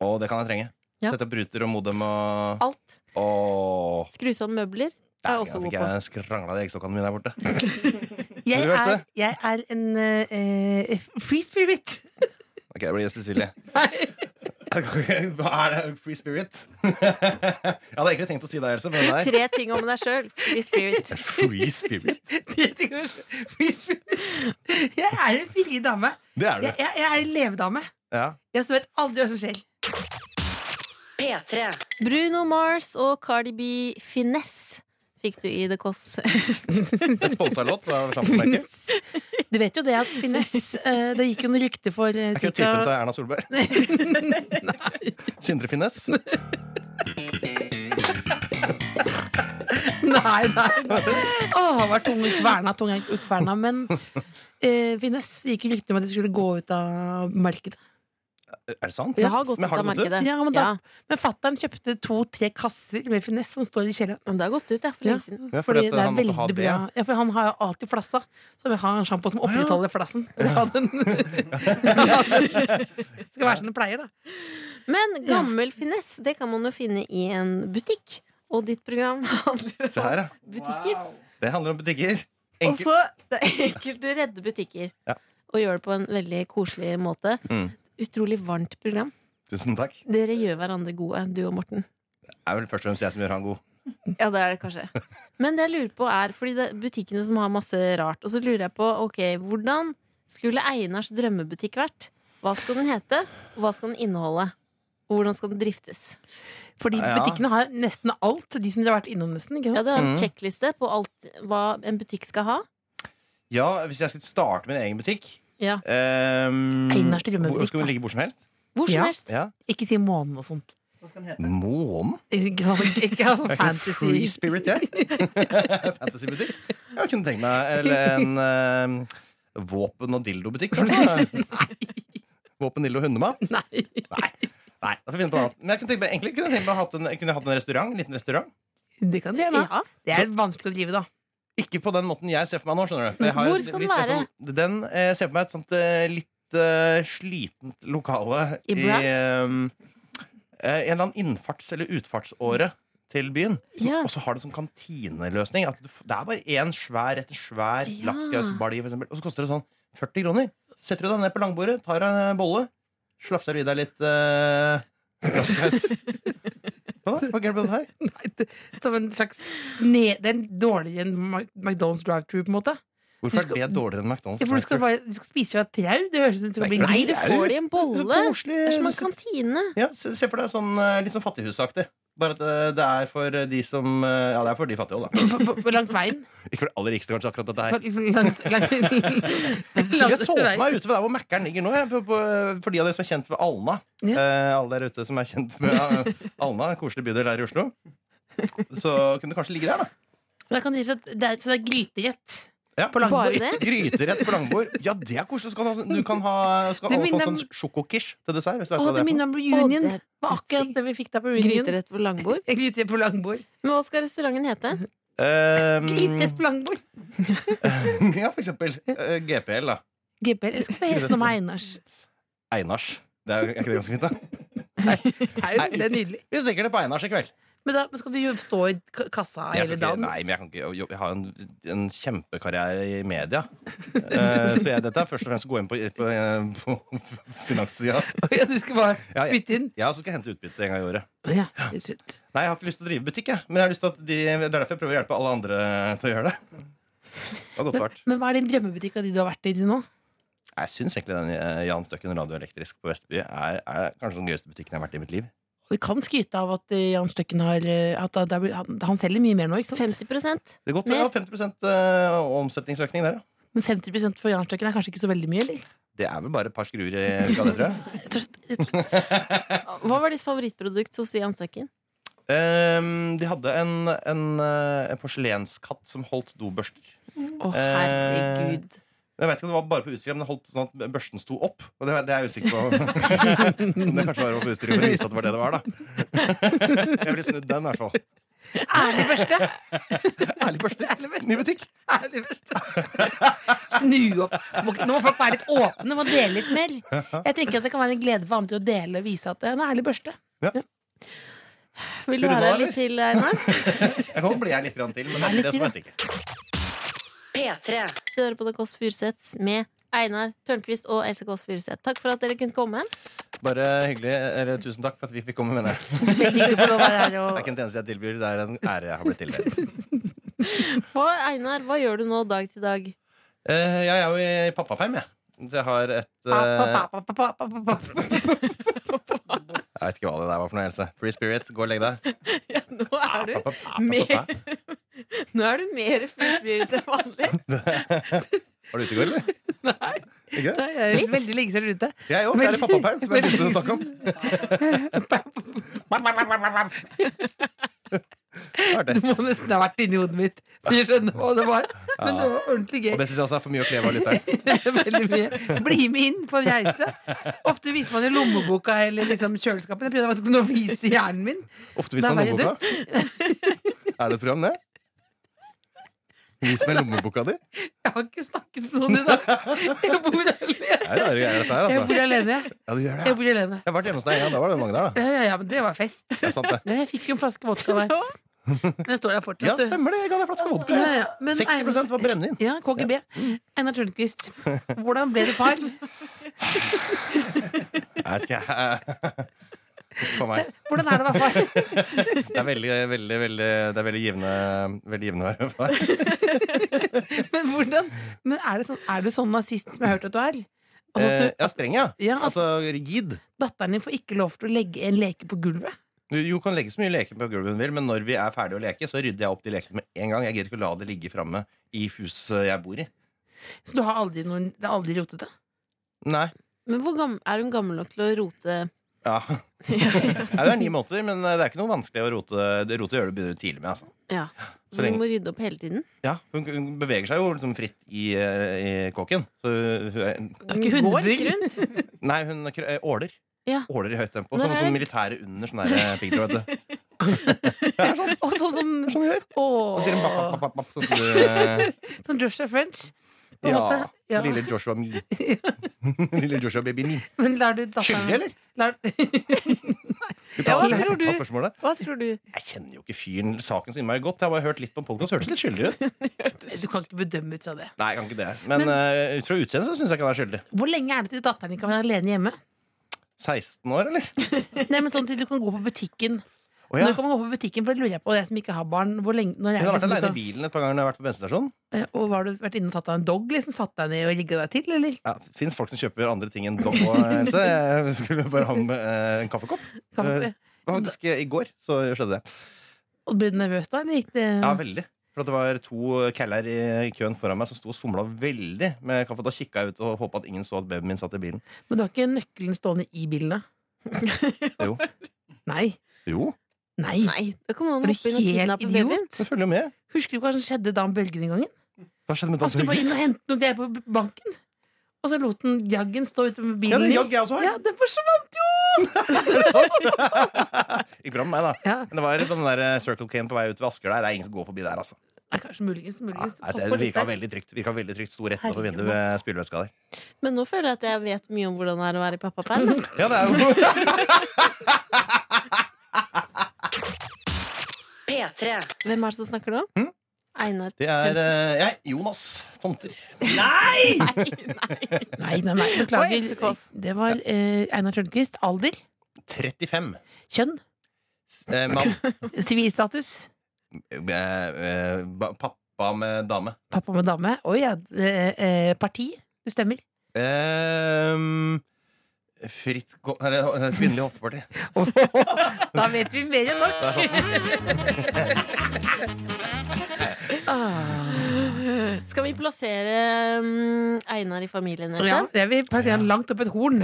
S8: Å, det kan jeg trenge.
S2: Ja.
S8: Sette opp ruter og modem og
S2: Alt.
S8: Åh,
S2: Skru sammen møbler. Jeg er
S8: dæven,
S2: også
S8: jeg
S2: god
S8: fikk
S2: på.
S8: jeg skrangla de eggstokkene mine der borte.
S3: Jeg
S8: Vil du høre
S3: er, jeg er en eh, eh, free spirit.
S8: Ok, det blir Cecilie. Hva er det? Free spirit? jeg hadde egentlig tenkt å si deg, Else. Men nei.
S2: Tre ting om deg sjøl. Free spirit.
S8: Free spirit?
S3: Tre ting om meg. free spirit. Jeg er en villig dame.
S8: Det er
S3: Jeg,
S8: du.
S3: jeg, jeg er en levedame.
S8: Ja.
S3: Jeg vet aldri hva som skjer.
S7: P3.
S2: Bruno Mars og Cardi B Finesse fikk du i The Kåss.
S8: Et sponsa låt. Det var sjampomerket.
S3: Du vet jo det at finesse eh, Det gikk jo noen rykter for eh,
S8: Er ikke det typen til
S3: cirka
S8: Erna Solberg? Sindre Finnes?
S3: Nei, nei. Åh, det var tung ukverna, tung ukverna. Men eh, finesse det gikk jo rykter om at de skulle gå ut av markedet.
S8: Er det sant?
S2: Det har gått
S8: Men
S2: ut av
S8: det
S2: markedet.
S3: Ja, men,
S2: Ja.
S3: da- men fattern kjøpte to-tre kasser med finesse som står i kjelleren.
S2: Men det har gått ut, ja. For
S3: Ja.
S2: lenge siden.
S8: Ja,
S3: Fordi
S8: fordi at
S3: det er
S8: han måtte ha
S3: veldig
S8: det.
S3: bra ja, for Han har jo alltid flassa. Så vi har en sjampo som opprettholder flassen. Det har den. Skal være som det pleier, da.
S2: Men gammel finesse, det kan man jo finne i en butikk. Og ditt program handler
S8: Se
S2: om
S8: her, ja.
S2: butikker.
S8: Det handler om butikker.
S2: Og
S8: Enkelt.
S2: så det er enkelt å redde butikker.
S8: Ja.
S2: Og gjør det på en veldig koselig måte.
S8: Mm.
S2: Utrolig varmt program.
S8: Tusen takk.
S2: Dere gjør hverandre gode, du og Morten.
S8: Det er vel først og fremst jeg som gjør han god.
S2: Ja, det er det kanskje. Men det jeg lurer på er, fordi det er butikkene som har masse rart, og så lurer jeg på, ok, hvordan skulle Einars drømmebutikk vært? Hva skal den hete, og hva skal den inneholde? Og hvordan skal den driftes?
S3: Fordi
S8: Ja.
S3: butikkene har nesten alt. De som dere har vært innom, nesten. Ikke
S2: Ja,
S3: sant?
S2: det er en
S8: Mm.
S2: sjekkliste på alt hva en butikk skal ha.
S8: Ja, Hvis jeg skulle starte min egen butikk
S2: Ja.
S8: ehm,
S3: Einars drømmebutikk,
S8: hvor- Skal den
S3: da.
S8: ligge hvor som helst?
S2: Hvor som
S3: Ja.
S2: helst.
S8: Ja.
S3: Ikke si månen og sånt.
S8: Månen?
S3: Ikke, sånn, ikke ha sånn
S8: Jeg er ikke free
S3: fantasy.
S8: spirit, jeg. Fantasybutikk. Jeg kunne tenkt meg Eller en ehm, våpen- og dildobutikk, kanskje. Våpen, dildo og hundemat?
S3: Nei.
S8: Nei, da får vi finne på noe annet. Men jeg kunne tenkt meg, egentlig kunne jeg tenkt meg å ha hatt en, kunne jeg hatt en restaurant. En liten restaurant.
S3: Det kan du gjerne. ha. Det er vanskelig å drive, da.
S8: Ikke på den måten jeg ser for meg nå. skjønner du For jeg har
S2: Hvor skal den
S8: litt mer
S2: være?
S8: Sånn, den eh, ser for meg et sånt eh, litt eh, slitent lokale
S2: I Bratz?
S8: eh, eh, en eller annen innfarts- eller utfartsåre til byen.
S2: Ja.
S8: Og så har det sånn kantineløsning. At du, f- det er bare én svær rett, en svær
S2: Ja.
S8: lapskausbalje, for eksempel. Og så koster det sånn 40 kroner. Setter du deg ned på langbordet, tar deg en eh, bolle, slafser i deg litt eh, lapskaus. Hva da? Hva gærent med det her?
S3: Nei, det- Som en slags ned, Det er dårligere enn Mac- McDonald's drive-through, på en måte.
S8: Hvorfor
S3: Du skal-
S8: er det dårligere enn McDonald's?
S3: Ja, for du skal, bare, du skal spise fra et trau. Det høres ut som du skal bli
S8: Nei,
S2: Nei,
S3: gris.
S2: du får det i en
S8: Det er så
S2: bolle.
S8: koselig.
S2: Det er som en kantine.
S8: Ja, se, se for deg sånn, eh, litt sånn fattighusaktig. Bare at eh, det er for de som eh, Ja, det er for de fattige òg,
S3: På,
S8: da.
S3: på, på langs veien.
S8: Ikke for de aller rikeste, kanskje, akkurat dette
S3: På,
S8: her.
S3: langs, langs,
S8: Jeg
S3: langs
S8: så for meg ute ved der hvor Mækkern ligger nå, jeg, for, for- for de av dere som er kjent med Alna.
S3: Ja.
S8: Eh, alle der ute som er kjent med eh, Alna, en koselig bydel her i Oslo. Så kunne det kanskje ligge der, da.
S3: Da kan du si at det er, så det er gryterett.
S8: Ja.
S3: På langbord.
S2: Bare det?
S8: Gryterett på langbord. Ja, det er koselig. Så kan du ha- sånn, du kan ha skal
S3: Det
S8: alle få
S3: minner
S8: sånn
S3: om-
S8: sjokokish til dessert. Hvis du vet
S3: Å, det
S8: hva det er for noe.
S3: minner om reunion.
S2: Å, det er
S3: Det var akkurat det vi fikk der på reunion.
S2: Gryterett på langbord.
S3: Gryterett på langbord.
S2: Men hva skal restauranten hete?
S8: Ehm,
S3: Gryterett på langbord.
S8: ja, for eksempel. eh, GPL, da.
S3: GPL. Eller skal vi hete noe med Einars?
S8: Einars. Det er, jo- er ikke det ganske fint, da?
S3: Det er jo det er nydelig.
S8: Vi stikker det på Einars i kveld.
S3: Men da men skal du jo stå i k- kassa
S8: Jeg
S3: hele
S8: skal ikke,
S3: dagen?
S8: nei, men jeg, kan ikke, jo- jeg har en, en kjempekarriere i media. Eh, så jeg, dette er først og fremst å gå inn på, på, eh, på finanssida.
S3: Ja, du skal bare
S8: Ja, ja.
S3: spytte inn?
S8: Ja, så skal jeg hente utbytte en gang i året.
S3: Å Ja, helt slutt.
S8: Nei, jeg har ikke lyst til å drive butikk, jeg. Men jeg har lyst til at de, det er derfor jeg prøver å hjelpe alle andre til å gjøre det. Det var godt svart.
S3: Men hva er din drømmebutikk av de du har vært i til nå?
S8: Nei, Jeg syns egentlig den eh, Jan Støkken radioelektrisk på Vestby er, er kanskje den gøyeste butikken jeg har vært i mitt liv.
S3: Og vi kan skryte av at eh, Jan Støkken har eh, at det er blitt- han, han selger mye mer nå, ikke sant?
S2: 50
S8: Det er godt, ja, 50 eh, omsetningsøkning der, ja.
S3: Men 50 for Jan Støkken er kanskje ikke så veldig mye, eller?
S8: Det er vel bare et par skruer i uka, det, tror jeg.
S3: Jeg tror, jeg tror,
S2: Hva var ditt favorittprodukt hos Jan Støkken?
S8: Ehm, de hadde en, en, eh, en porselenskatt som holdt dobørster.
S2: Å,
S8: Eh,
S2: herregud.
S8: Jeg vet ikke om det var bare på utstillingen, men det holdt sånn at børsten sto opp. Og det, det er jeg usikker på. Men det kanskje bare var på utstillingen for å vise at det var det det var, da. Jeg ville snudd den, i hvert fall.
S3: ærlig børste!
S8: Ærlig børste. Ny butikk.
S3: Ærlig børste. Snu opp. Må ikke- Nå må folk være litt åpne, må dele litt mer. Jeg tenker at det kan være en glede for andre å dele og vise at det er en ærlig børste.
S2: Vil du
S8: Vil du
S2: være
S8: ha,
S2: litt til, Einar?
S8: Jeg kan bli her litt grann til, men det er ikke det som er stikket.
S7: P3.
S2: Du hører på The Kåss Furuseths med Einar Tørnquist og Else Kåss Furuseth. Takk for at dere kunne komme.
S8: Bare hyggelig. Eller tusen takk for at vi fikk komme, mener jeg.
S3: Begge ikke får lov å være her
S8: Det er
S3: og
S8: ikke en tjeneste jeg tilbyr, det er en ære jeg har blitt tildelt.
S2: Hva, Einar, hva gjør du nå dag til dag?
S8: Eh, jeg er jo i pappaperm, jeg. Så jeg har et eh,
S3: Pa, pa, pa, pa, pa, pa, pa.
S8: Jeg vet ikke hva det der var for noe, Else. Free spirit, gå og legg deg. Ah,
S2: Ja, nå er
S8: Pa, pa, pa, pa, pa,
S2: mer-
S8: pa.
S2: Nå er du mer free spirit enn vanlig.
S8: Var du ute i går, eller?
S3: Nei,
S8: Ikke det?
S3: nei, jeg er veldig lenge siden ute.
S8: Jeg òg. Det er i pappaperm som jeg begynte å snakke om. Det var det.
S3: Det må nesten ha vært inni hodet mitt. For jeg skjønner hva det var. Men det var ordentlig gøy.
S8: Og det syns jeg også er for mye å kleve av lytteren.
S3: Veldig mye. Bli med inn på en reise. Ofte viser man jo lommeboka eller liksom kjøleskapet. Jeg prøvde faktisk nå å vise hjernen min.
S8: Ofte viser
S3: Da
S8: man
S3: var jeg
S8: lommeboka. Er det et program, det? Vis meg lommeboka di.
S3: Jeg har ikke snakket med noen i dag. Jeg bor alene.
S8: Det er rare greier, dette her,
S3: Jeg
S8: altså.
S3: bor alene. jeg.
S8: Ja, du gjør det.
S3: Jeg bor alene.
S8: Jeg har vært hjemme hos deg, ja. Da var det mange der, da.
S3: Ja, ja, ja, men det var fest.
S8: Det er sant, det.
S3: Ja, jeg fikk jo en flaske vodka der. Den står der
S8: Ja,
S3: fortsatt. du.
S8: stemmer det. Jeg ga deg en flaske vodka.
S3: Ja, ja. Men
S8: 60 var brennevin.
S3: Ja, KGB. Einar Tørnquist, hvordan ble du far?
S8: Jeg vet ikke. jeg- For meg.
S3: Hvordan er det å være far?
S8: Det er veldig, veldig, veldig Det er veldig givende Veldig givende å være far.
S3: Altså, Men, hvordan? men er, det sånn, er du sånn nazist som jeg har hørt at du er? Altså at
S8: Eh,
S3: du,
S8: Ja, streng, ja.
S3: Ja, at-
S8: Altså rigid.
S3: datteren din får ikke lov til å legge en leke på gulvet?
S8: Du jo, kan legge så mye leker på gulvet hun vil, men når vi er ferdige å leke, så rydder jeg opp de lekene med en gang. Jeg gidder ikke å la det ligge framme i huset jeg bor i.
S3: Så du har aldri noen, det er aldri rotete?
S8: Nei.
S2: Men hvor gam- er hun gammel nok til å rote
S8: Ja. Nei, det er ni måneder, men eh, det er ikke noe vanskelig å rote. Det rotet gjør du begynner du tidlig med. Altså.
S2: Ja. Så hun
S8: Så lenge-
S2: må rydde opp hele tiden?
S8: Ja, hun, hun beveger seg jo liksom fritt i, eh, i kåken. Så hun er-
S3: Ikke
S2: Hun går
S3: hundebur.
S2: ikke rundt.
S8: Nei, hun er kr- eh, åler.
S2: Ja.
S8: Åler i høyt tempo.
S2: Når
S8: Sånn
S2: er
S8: som
S2: det-
S8: militæret under sånn der piggtråd, vet du.
S3: Og sånn som
S8: Det er sånn de gjør. Og sier de bap, bap,
S3: Åh,
S8: bap, bap, sånn som du,
S3: Sånn Joshua French. Og
S8: ja,
S3: hopper- ja.
S8: Lille Joshua Mi. Lille Joshua Baby Mi.
S3: Men lar du
S8: Skyldig,
S3: datteren
S8: eller?
S3: lar,
S8: Vi tar
S2: hva
S8: oss litt
S2: tror
S8: ta
S2: du?
S8: spørsmålet.
S2: Hva tror du?
S8: Jeg kjenner jo ikke fyren saken så innmari godt. Jeg har bare hørt litt på podkast. Hørtes litt skyldig ut.
S3: Du kan ikke bedømme ut fra det.
S8: Nei, jeg kan ikke det. Men, eh, ut fra utseendet så syns jeg ikke han er skyldig.
S3: Hvor lenge er det til datteren din kan være alene hjemme?
S8: 16 år, eller?
S3: Nei, men sånn til du kan gå på butikken.
S8: Å ja.
S3: Når kan man gå på butikken, for det lurer jeg på, jeg som ikke har barn. Hvor lenge, når er det
S8: Hun har vært
S3: liksom du
S8: aleine
S3: kan-
S8: i bilen et par ganger når jeg har vært på bensinstasjonen.
S3: Eh, Og har du vært inne og tatt deg en dog? Liksom, satt deg ned og rigga deg til, eller?
S8: Ja, Fins folk som kjøper andre ting enn dog og Else? Jeg skulle bare ha med eh, en kaffekopp.
S3: Kaffe?
S8: Faktisk, eh, I går så skjedde det.
S5: Og Ble du nervøs da? Eller gikk det
S8: Ja, veldig. For at det var to caller i køen foran meg som sto og somla veldig med kaffe. Da kikka jeg ut og håpa at ingen så at babyen min satt i bilen.
S5: Men du har ikke nøkkelen stående i bilen, da?
S8: Jo.
S5: Nei.
S8: Jo,
S5: Nei.
S2: Nei, da kan noen
S5: Er du
S2: hoppe inn og
S5: helt
S2: kidnappe babyen.
S5: idiot?
S8: jeg følger jo med.
S5: Husker du hva som skjedde da med Bølgen en gang?
S8: Hva skjedde med
S5: Han skulle
S8: dansen?
S5: bare inn og hente noe greier på banken. Og så lot han jaggen stå ute med
S8: Ja,
S5: bilen.
S8: det
S5: i.
S8: jagg jeg også har.
S5: ja, den forsvant jo!
S8: Gikk bra med meg, da.
S5: Ja,
S8: Men det var den der eh, Circle Cane på vei ut ved Asker der. Det er ingen som går forbi der, altså.
S5: nei, kanskje muligens.
S8: Nei,
S5: muligens. Pass
S8: det
S5: på litt
S8: virka
S5: der.
S8: veldig trygt. Virka veldig trygt Sto rett utenfor
S5: Herregud.
S8: vinduet ved spylevæska der.
S2: Men nå føler jeg at jeg vet mye om hvordan det er å være i pappaperm.
S8: Ja, det er jo
S9: P3.
S2: Hvem er det som snakker nå?
S8: Hm?
S2: Einar
S8: Det er eh, jeg, Jonas Tomter.
S5: Nei, nei, nei,
S2: Og Else
S5: beklager.
S8: altså.
S2: Kåss.
S5: Det var eh, Einar Tørnquist. Alder.
S8: 35.
S5: Kjønn.
S8: Eh, mann.
S5: Sivilstatus.
S8: Eh, eh, ba- pappa med dame.
S5: Pappa med dame. Oi, ja. eh, eh, parti. Du stemmer.
S8: Eh, fritt gå... Eller eh, kvinnelig hofteparti. sånn,
S5: Da vet vi mer enn nok. ah,
S2: Skal vi plassere mm, Einar i familien? Else?
S5: ja, jeg vil passe han langt opp et horn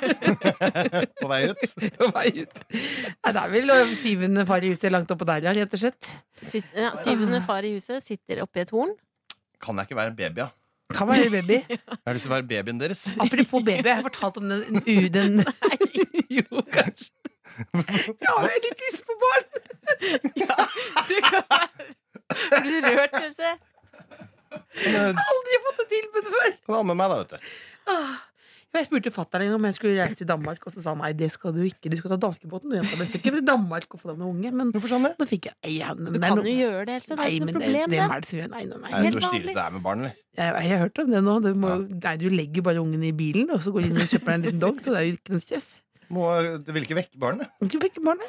S8: På vei ut.
S5: på vei ut. Nei, det er vel eh, syvende far i huset langt oppå der, ja, rett og slett.
S2: Sitt, ja, syvende far i huset sitter oppi et horn.
S8: Kan jeg ikke være babya?
S5: Kan være baby.
S8: Jeg har lyst til å være babyen deres.
S5: Apropos baby, jeg har fortalt om den u- den Jo, kanskje. Jeg har jo litt lyst på barn.
S2: Du kan være Blir du rørt, Else?
S8: Kan du-
S5: Aldri fått det tilbudet før.
S8: kan du amme meg, da, vet du.
S5: Ah, Jeg spurte fatter'n om jeg skulle reise til Danmark, og så sa han nei, det skal du ikke. Du skal ta danskebåten. Du jenta mi skal ikke til Danmark og få deg noen unge. Men
S8: Hvorfor sånn det?
S5: nå fikk jeg Nei, ja, men
S2: Du
S5: det er
S2: kan
S5: noe-
S2: jo gjøre det, Else. Det er
S5: Nei,
S2: ikke noe
S5: men
S2: problem.
S5: det,
S2: Det,
S5: hvem er det som gjør Nei, nei, nei.
S8: Er det
S2: Helt
S8: så styret
S2: vanlig.
S8: det er med barn, eller?
S5: Jeg, jeg har hørt om det nå. Du, må, nei, du legger bare ungen i bilen, og så går du inn og kjøper deg en liten dog, så det er jo ikke noe stress.
S8: Må, du vil ikke vekke barnet?
S5: Ikke fikk barnet.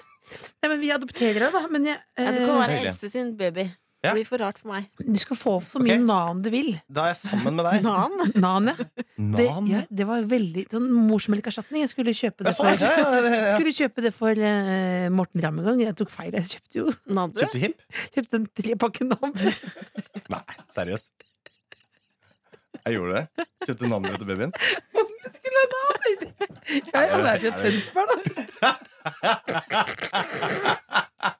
S5: Nei, men vi adopterer deg, da. Men jeg,
S2: ja, du kan
S5: eh,
S2: være
S8: Hyggelig.
S2: Else sin baby.
S8: Ja.
S2: Det blir for rart for meg.
S5: du skal få så mye
S8: Ok.
S5: nan du vil.
S8: Da er jeg sammen med deg.
S2: Nan?
S5: Nan, ja. Det,
S8: Nan?
S5: ja, det var veldig sånn morsmelkerstatning. Jeg skulle kjøpe det
S8: Ja, sånn,
S5: for,
S8: ja, ja, ja, ja.
S5: skulle kjøpe det for eh, Morten Ramm en gang. Jeg tok feil. Jeg kjøpte jo
S2: Nan du?
S8: Kjøpte du hip?
S5: kjøpte en trepakke Nam.
S8: Nei, seriøst. Jeg gjorde det. Kjøpte navnet til babyen.
S5: Ungen skulle ha Nam! Ja, ja, det er fra Tønsberg, da.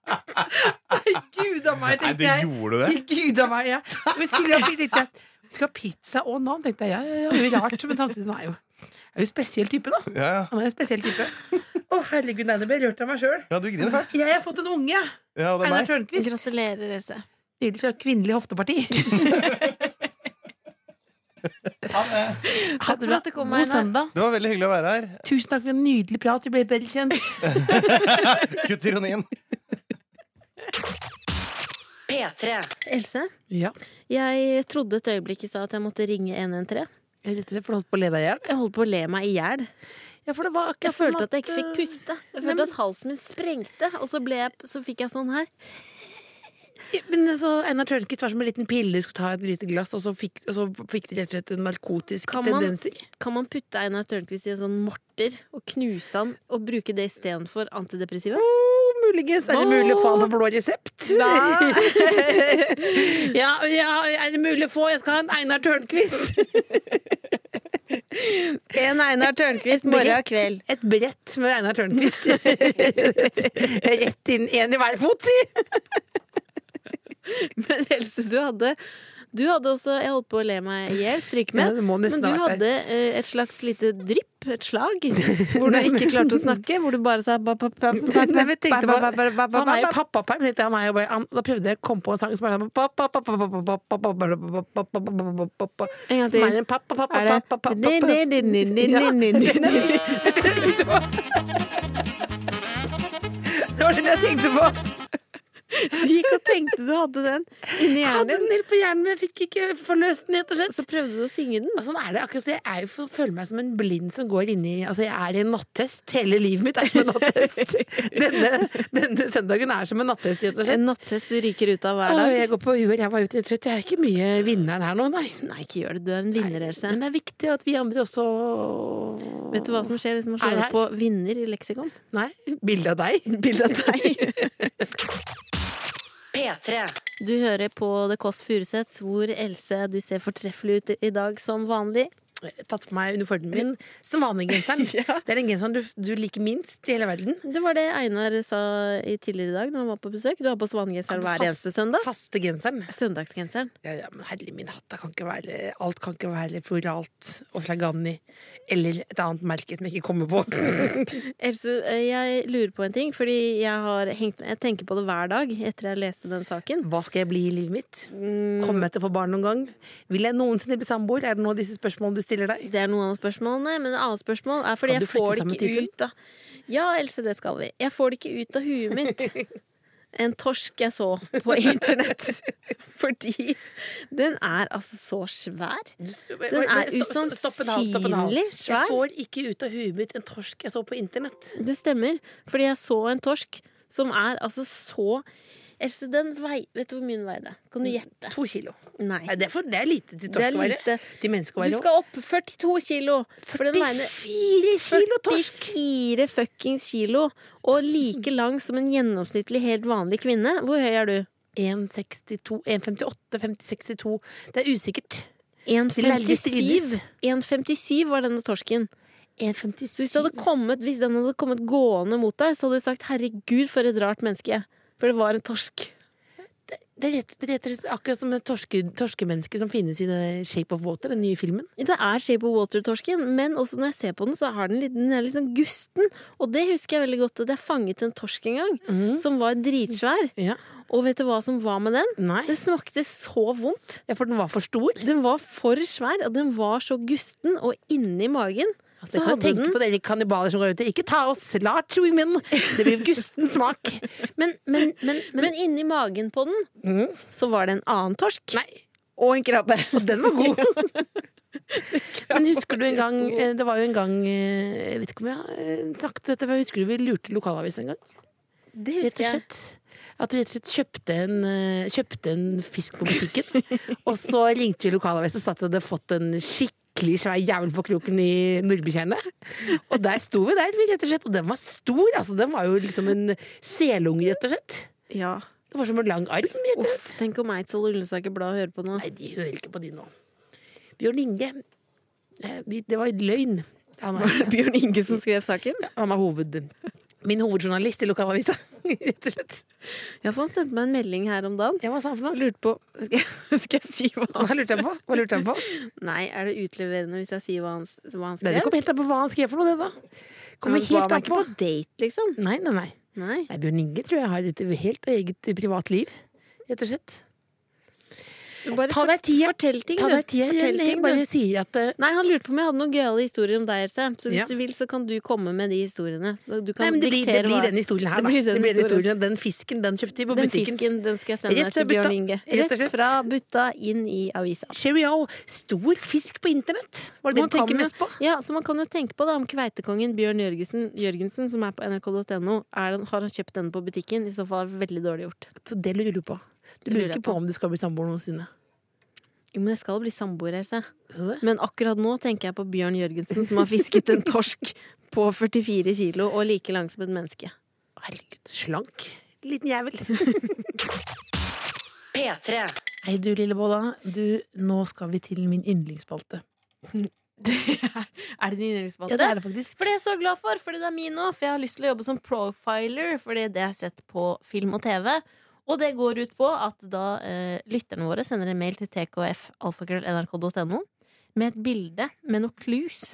S5: Nei, gud a meg,
S8: Nei, du
S5: tenkte jeg.
S8: gjorde det?
S5: Gud av meg, ja. Men skulle jeg tenkte jeg, skal ha pizza og nan, tenkte jeg. Ja, ja, ja, det er jo rart, men samtidig, han er jo, er jo en spesiell type, da.
S8: Ja, ja.
S5: Han er jo en spesiell type. Å, herregud, nei, nå ble jeg rørt av meg sjøl.
S8: ja du griner fælt.
S5: Jeg har fått en unge, jeg.
S8: Ja, det er
S5: Einar
S8: meg.
S5: Tørnquist.
S2: Gratulerer, Else.
S5: Nydelig fra Kvinnelig hofteparti. Ha
S2: Takk for at du kom,
S5: God
S2: Einar.
S5: søndag.
S8: Det var veldig hyggelig å være her.
S5: Tusen takk for en nydelig prat. Vi ble bedre kjent.
S8: Kutt ironien.
S9: P3.
S2: Else,
S5: Ja.
S2: jeg trodde et øyeblikk i stad at jeg måtte ringe 113.
S5: Jeg er rett og slett for holdt på å le deg i hjel.
S2: Jeg holdt på å le meg i hjel.
S5: Ja, for det var
S2: Jeg
S5: akkurat
S2: følte
S5: som
S2: at jeg ikke fikk
S5: eh,
S2: puste. Jeg
S5: Nei,
S2: følte
S5: men-
S2: at halsen min sprengte, og så, ble jeg, så fikk jeg sånn her.
S5: Men
S3: altså,
S5: så Einar Tørnquist var som en liten pille du skulle ta et lite glass, og så fikk, og så fikk det rett og slett en narkotisk
S2: Kan man-
S5: tendenser.
S2: Kan man putte Einar Tørnquist i en sånn morter og knuse han og bruke det istedenfor antidepressiva?
S5: Oh, muligens er det mulig å få han på blå resept. ja, ja, er det mulig å få? Jeg skal ha en Einar Tørnquist.
S2: En Einar Tørnquist
S5: Brett. Et brett med Einar Tørnquist. Rett inn, én i hver fot, si!
S2: Men Else, du hadde du hadde også Jeg holdt på å le meg i hjel, stryk med.
S5: Ja, det må nesten
S2: Men du
S5: ha vært
S2: hadde eh, et slags lite drypp, et slag, hvor du ikke klarte å snakke. Hvor du bare sa ba, ba, ba, ba,
S5: Nei, men jeg tenkte bare- Han er jo
S2: ba, ba.
S5: pappaperm. tenkte jeg. Han er jo bare- han- Da prøvde jeg å komme på en sang som er sånn pappa, pappa, pappa, pappa, pappa, pappa, pappa,
S2: En gang
S5: Som
S2: til.
S5: er en pappa,
S2: Er
S5: pappa,
S2: det
S5: pappa, pappa, pappa. Det var den jeg tenkte på.
S2: Du gikk og tenkte du hadde den inni
S3: Jeg hadde
S2: hjernen
S3: den
S2: din.
S3: helt på hjernen, men jeg fikk ikke forløst den, rett og slett.
S2: Så prøvde du å synge den.
S3: Og sånn er det akkurat så Jeg er jo, for- føler meg som en blind som går inn i Altså, jeg er i en natthest. Hele livet mitt er jo en natthest. Denne, denne søndagen er som en natthest, rett og slett.
S2: En natthest du ryker ut av hver
S3: Åh,
S2: dag.
S3: jeg går på huet, jeg var ute rett og slett. Jeg er ikke mye vinneren her nå, nei.
S2: Nei, ikke gjør det. Du er en vinner, Else.
S3: Men det er viktig at vi andre også
S2: Vet du hva som skjer hvis man
S3: Er
S2: slår
S3: det
S2: opp på 'vinner' i leksikon?
S3: Nei, bilde av deg.
S2: Bilde av deg.
S7: P3.
S2: Du hører på The Kåss Furuseths, hvor Else, du ser fortreffelig ut i dag som vanlig.
S3: Tatt på meg uniformen min. Svanegenseren. Det er den genseren du, du liker minst i hele verden.
S2: Det var det Einar sa i tidligere i dag når han var på besøk. Du har på svanegenser
S3: Ja,
S2: hver
S3: fast-
S2: eneste søndag.
S3: Faste genseren.
S2: Søndagsgenseren.
S3: Ja, ja, men herlig min hatt, det kan ikke være, alt kan ikke være floralt og flagani. Eller et annet merke som jeg ikke kommer på.
S2: Else, jeg lurer på en ting, fordi jeg har hengt med. Jeg tenker på det hver dag etter jeg leste den saken.
S3: Hva skal jeg bli i livet mitt? Kommer jeg til å få barn noen gang? Vil jeg noensinne bli samboer? Er det noen av disse spørsmålene du stiller deg?
S2: Det er noen av spørsmålene, men et annet spørsmål er fordi
S3: Skal du
S2: jeg får
S3: flytte
S2: det
S3: sammen med
S2: ikke
S3: typen?
S2: ut av Ja, Else, det skal vi. Jeg får det ikke ut av huet mitt. En torsk jeg så på internett. Fordi den er altså så svær. Den er
S3: Stopp- stopp en hal, stopp en hal.
S2: usannsynlig svær.
S3: Jeg får ikke ut av huet mitt en torsk jeg så på internett.
S2: Det stemmer, fordi jeg så en torsk som er altså så Else, den vei... Vet du hvor mye den veide? Kan du gjette?
S3: To kilo.
S2: Nei.
S3: Nei, det, er for, det er lite
S2: Det
S3: til
S2: er
S3: torsk å være.
S2: lite.
S3: Til
S2: Du
S3: menneskevære.
S2: skal opp 42 kilo! For den veier
S3: 44 kilo torsk!
S2: 44 fuckings kilo! Og like lang som en gjennomsnittlig helt vanlig kvinne. Hvor høy er du?
S3: 1,62, 1,58, 50,62. Det er usikkert.
S2: 1,57 1,57 var denne torsken. Så hvis, det hadde kommet, hvis den hadde kommet gående mot deg, så hadde du sagt 'herregud, for et rart menneske'. For det var en torsk.
S3: Det er rett, det er rett og slett akkurat som det torske, torskemennesket som finnes i det Shape of Water, den nye filmen.
S2: Det er Shape of Water-torsken, men også når jeg ser på den, så har den litt, den er litt sånn gusten. Og det husker jeg veldig godt at jeg fanget en torsk en gang, som var dritsvær.
S3: Mhm. Ja.
S2: Og vet du hva som var med den?
S3: Nei.
S2: Den smakte så vondt.
S3: Ja, for den var for stor.
S2: Den var for svær, og den var så gusten, og inni magen så
S3: Så kan jeg
S2: hadde
S3: tenke
S2: den
S3: Mm. på dere kannibaler som går ute. Ikke ta oss, large women! Det blir gusten smak. Men, men, men, men, Mhm.
S2: Men inni magen på den, så var det en annen torsk.
S3: Nei. Og en krabbe. Og den var god. Men husker du en gang eh, Det var jo en gang eh, Jeg vet ikke om jeg har eh, snakket dette, for jeg husker du vi lurte lokalavisen en gang?
S2: Det
S3: rett og slett. At vi rett og slett kjøpte en, eh, kjøpte en fisk på butikken. og så ringte vi lokalavisen og sa at vi hadde fått en skikkelig svær jævel på kroken i Nordbytjernet. Og der sto vi der, vi, rett og slett. Og den var stor! altså Den var jo liksom en selunge, rett og slett.
S2: Ja.
S3: Det var som en lang arm. rett og slett.
S2: Uff, tenk om Eidsvoll Ullensaker Blad hører på nå.
S3: Nei, de hører ikke på de nå. Bjørn Inge. eh, vi- Det var løgn. Han er,
S2: Bjørn Inge som skrev saken?
S3: han er hoved... Min hovedjournalist i lokalavisa, rett og slett.
S2: Ja, for han sendte meg en melding her om dagen.
S3: Ja, hva sa han for noe?
S2: Lurte på Skal jeg, skal jeg si hva
S3: Hva lurte han på? Hva lurte han på?
S2: Nei, er det utleverende hvis jeg sier hva han, hva han
S3: Nei,
S2: skrev?
S3: det kommer helt an på hva han skrev for noe, det da.
S2: Han
S3: Kommer
S2: var
S3: helt an
S2: ikke
S3: på.
S2: på date, liksom.
S3: Nei, nei, nei.
S2: Nei.
S3: nei Bjørn Inge tror jeg har et helt eget privat liv, rett og slett.
S2: Du bare
S3: Ta deg
S2: for-
S3: tida.
S2: Fortell ting,
S3: Ta
S2: du.
S3: deg tida.
S2: Fortell
S3: Jeg
S2: ting, du.
S3: bare sier at eh,
S2: Nei, han lurte på om jeg hadde noen gøyale historier om deg, Else. Så hvis
S3: Ja.
S2: du vil, så kan du komme med de historiene. Så du kan
S3: Nei, men det blir, det
S2: diktere
S3: blir
S2: hva-
S3: den historien her,
S2: Det
S3: da.
S2: blir den historien.
S3: Den fisken, den kjøpte vi på
S2: Den
S3: butikken.
S2: fisken den skal jeg sende deg
S3: Rett
S2: til
S3: fra butta.
S2: Bjørn Inge.
S3: Rett og
S2: Rett
S3: slett.
S2: fra butta inn i avisa.
S3: Cheerio! Stor fisk på internett! Var
S2: Så
S3: det det
S2: man
S3: du
S2: kan
S3: tenker
S2: jo-
S3: mest på?
S2: Ja, så man kan jo tenke på da om kveitekongen Bjørn Jørgensen, Jørgensen som er på nrk.no. Er den- Har han kjøpt denne på butikken? I så fall er det veldig dårlig gjort.
S3: Så det lurer du på. Du
S2: Det lurer
S3: lurer
S2: jeg
S3: ikke på om du skal bli samboer noensinne.
S2: Jo, men jeg skal bli samboer, Else.
S3: Skal du det?
S2: Men akkurat nå tenker jeg på Bjørn Jørgensen som har fisket en torsk på 44 kilo og like lang som et menneske.
S3: Herregud, slank. Liten jævel.
S7: P3.
S3: Hei du, lille Bolla. Du, nå skal vi til min yndlingsspalte.
S2: Er det din yndlingsspalte?
S3: Ja, det er det faktisk.
S2: For det er jeg så glad for, fordi det er min nå. For jeg har lyst til å jobbe som profiler, fordi det har jeg sett på film og TV. Og det går ut på at da eh, lytterne våre sender en mail til tkf.nrk.no med et bilde med noe clues.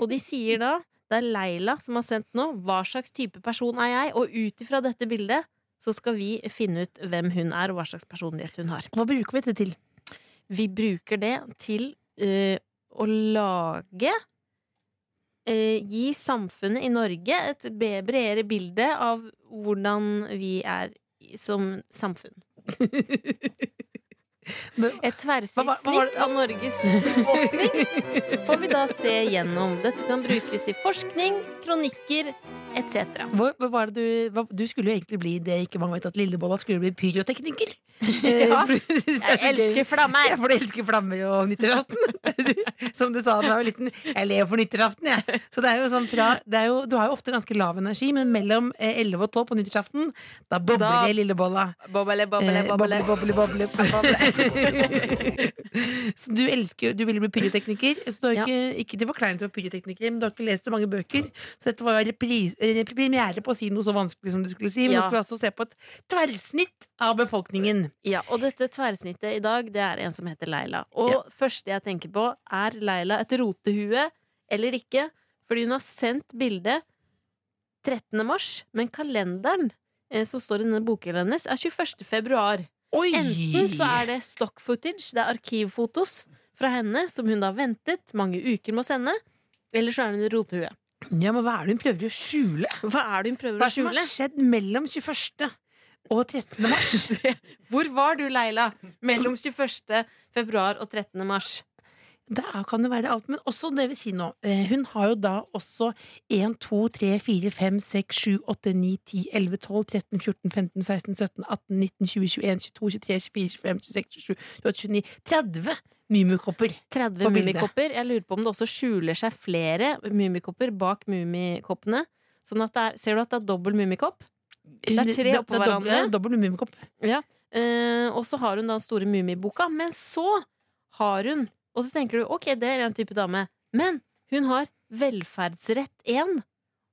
S2: Og de sier da det er Leila som har sendt nå. Hva slags type person er jeg? Og ut ifra dette bildet så skal vi finne ut hvem hun er, og hva slags personlighet hun har.
S3: Hva bruker vi dette til?
S2: Vi bruker det til eh, å lage eh, Gi samfunnet i Norge et be- bredere bilde av hvordan vi er i- som samfunn.
S3: Men-
S2: Et
S3: Hva var- hva var det-
S2: tverrsnitt av Norges befolkning får vi da se gjennom. Dette kan brukes i forskning, kronikker etc.
S3: Hva, hva var det du, hva, du skulle jo egentlig bli det ikke mange vet at Lillebolla skulle bli pyrotekniker. Eh, ja,
S2: Jeg elsker flammer!
S3: Jeg får elske flammer og nyttårsaften. Som du sa da jeg var liten. Jeg lever for nyttårsaften, jeg. Så det er jo sånn fra det er jo, Du har jo ofte ganske lav energi, men mellom eh, 11 og 12 på nyttårsaften, da bobler
S2: Da-
S3: det i lillebolla.
S2: Boble, boble,
S3: Eh,
S2: boble.
S3: boble, boble, boble. så du elsker jo Du ville bli pyrotekniker. Så du har
S2: Ja.
S3: ikke, ikke, det var kleint å være pyrotekniker, men du har ikke lest så mange bøker. Så dette var jo repris- eh, premiere på å si noe så vanskelig som du skulle si. Men
S2: Ja.
S3: du skulle altså se på et tverrsnitt av befolkningen.
S2: Ja, og dette tverrsnittet i dag, det er en som heter Leila. Og første jeg tenker på, er Leila et rotehue eller ikke? Fordi hun har sendt bilde 13. mars, men kalenderen eh, som står i denne bokhyllen hennes, er 21. februar.
S3: Oi!
S2: Enten så er det stock footage, det er arkivfotos fra henne, som hun da ventet mange uker med å sende, eller så er hun et rotehue.
S3: Ja, men hva er det hun prøver å skjule?
S2: Hva er det hun prøver å
S3: Hva er det som har
S2: skjule?
S3: skjedd mellom 21. og 13. mars?
S2: Hvor var du, Leila, mellom 21. februar og 13. mars?
S3: Da kan det være alt, men også det vi sier nå. eh, Hun har jo da også 1, 2, 3, 4, 5, 6, 7, 8, 9, 10, 11, 12, 13, 14, 15, 16, 17, 18, 19, 20, 21, 22, 23, 24, 25, 26, 27, 28, 29, 30 mumikopper.
S2: 30
S3: på bildet.
S2: mummikopper. Jeg lurer på om det også skjuler seg flere mummikopper bak mummikoppene. Sånn at det er, ser du at det er dobbel mummikopp? er tre
S3: Da-
S2: oppå
S3: da dobbel-
S2: hverandre.
S3: ja, Dobbel mumikopp.
S2: Eh, og så har hun da den store mummiboka, men så har hun Og så tenker du ok, det er en type dame, men hun har velferdsrett 1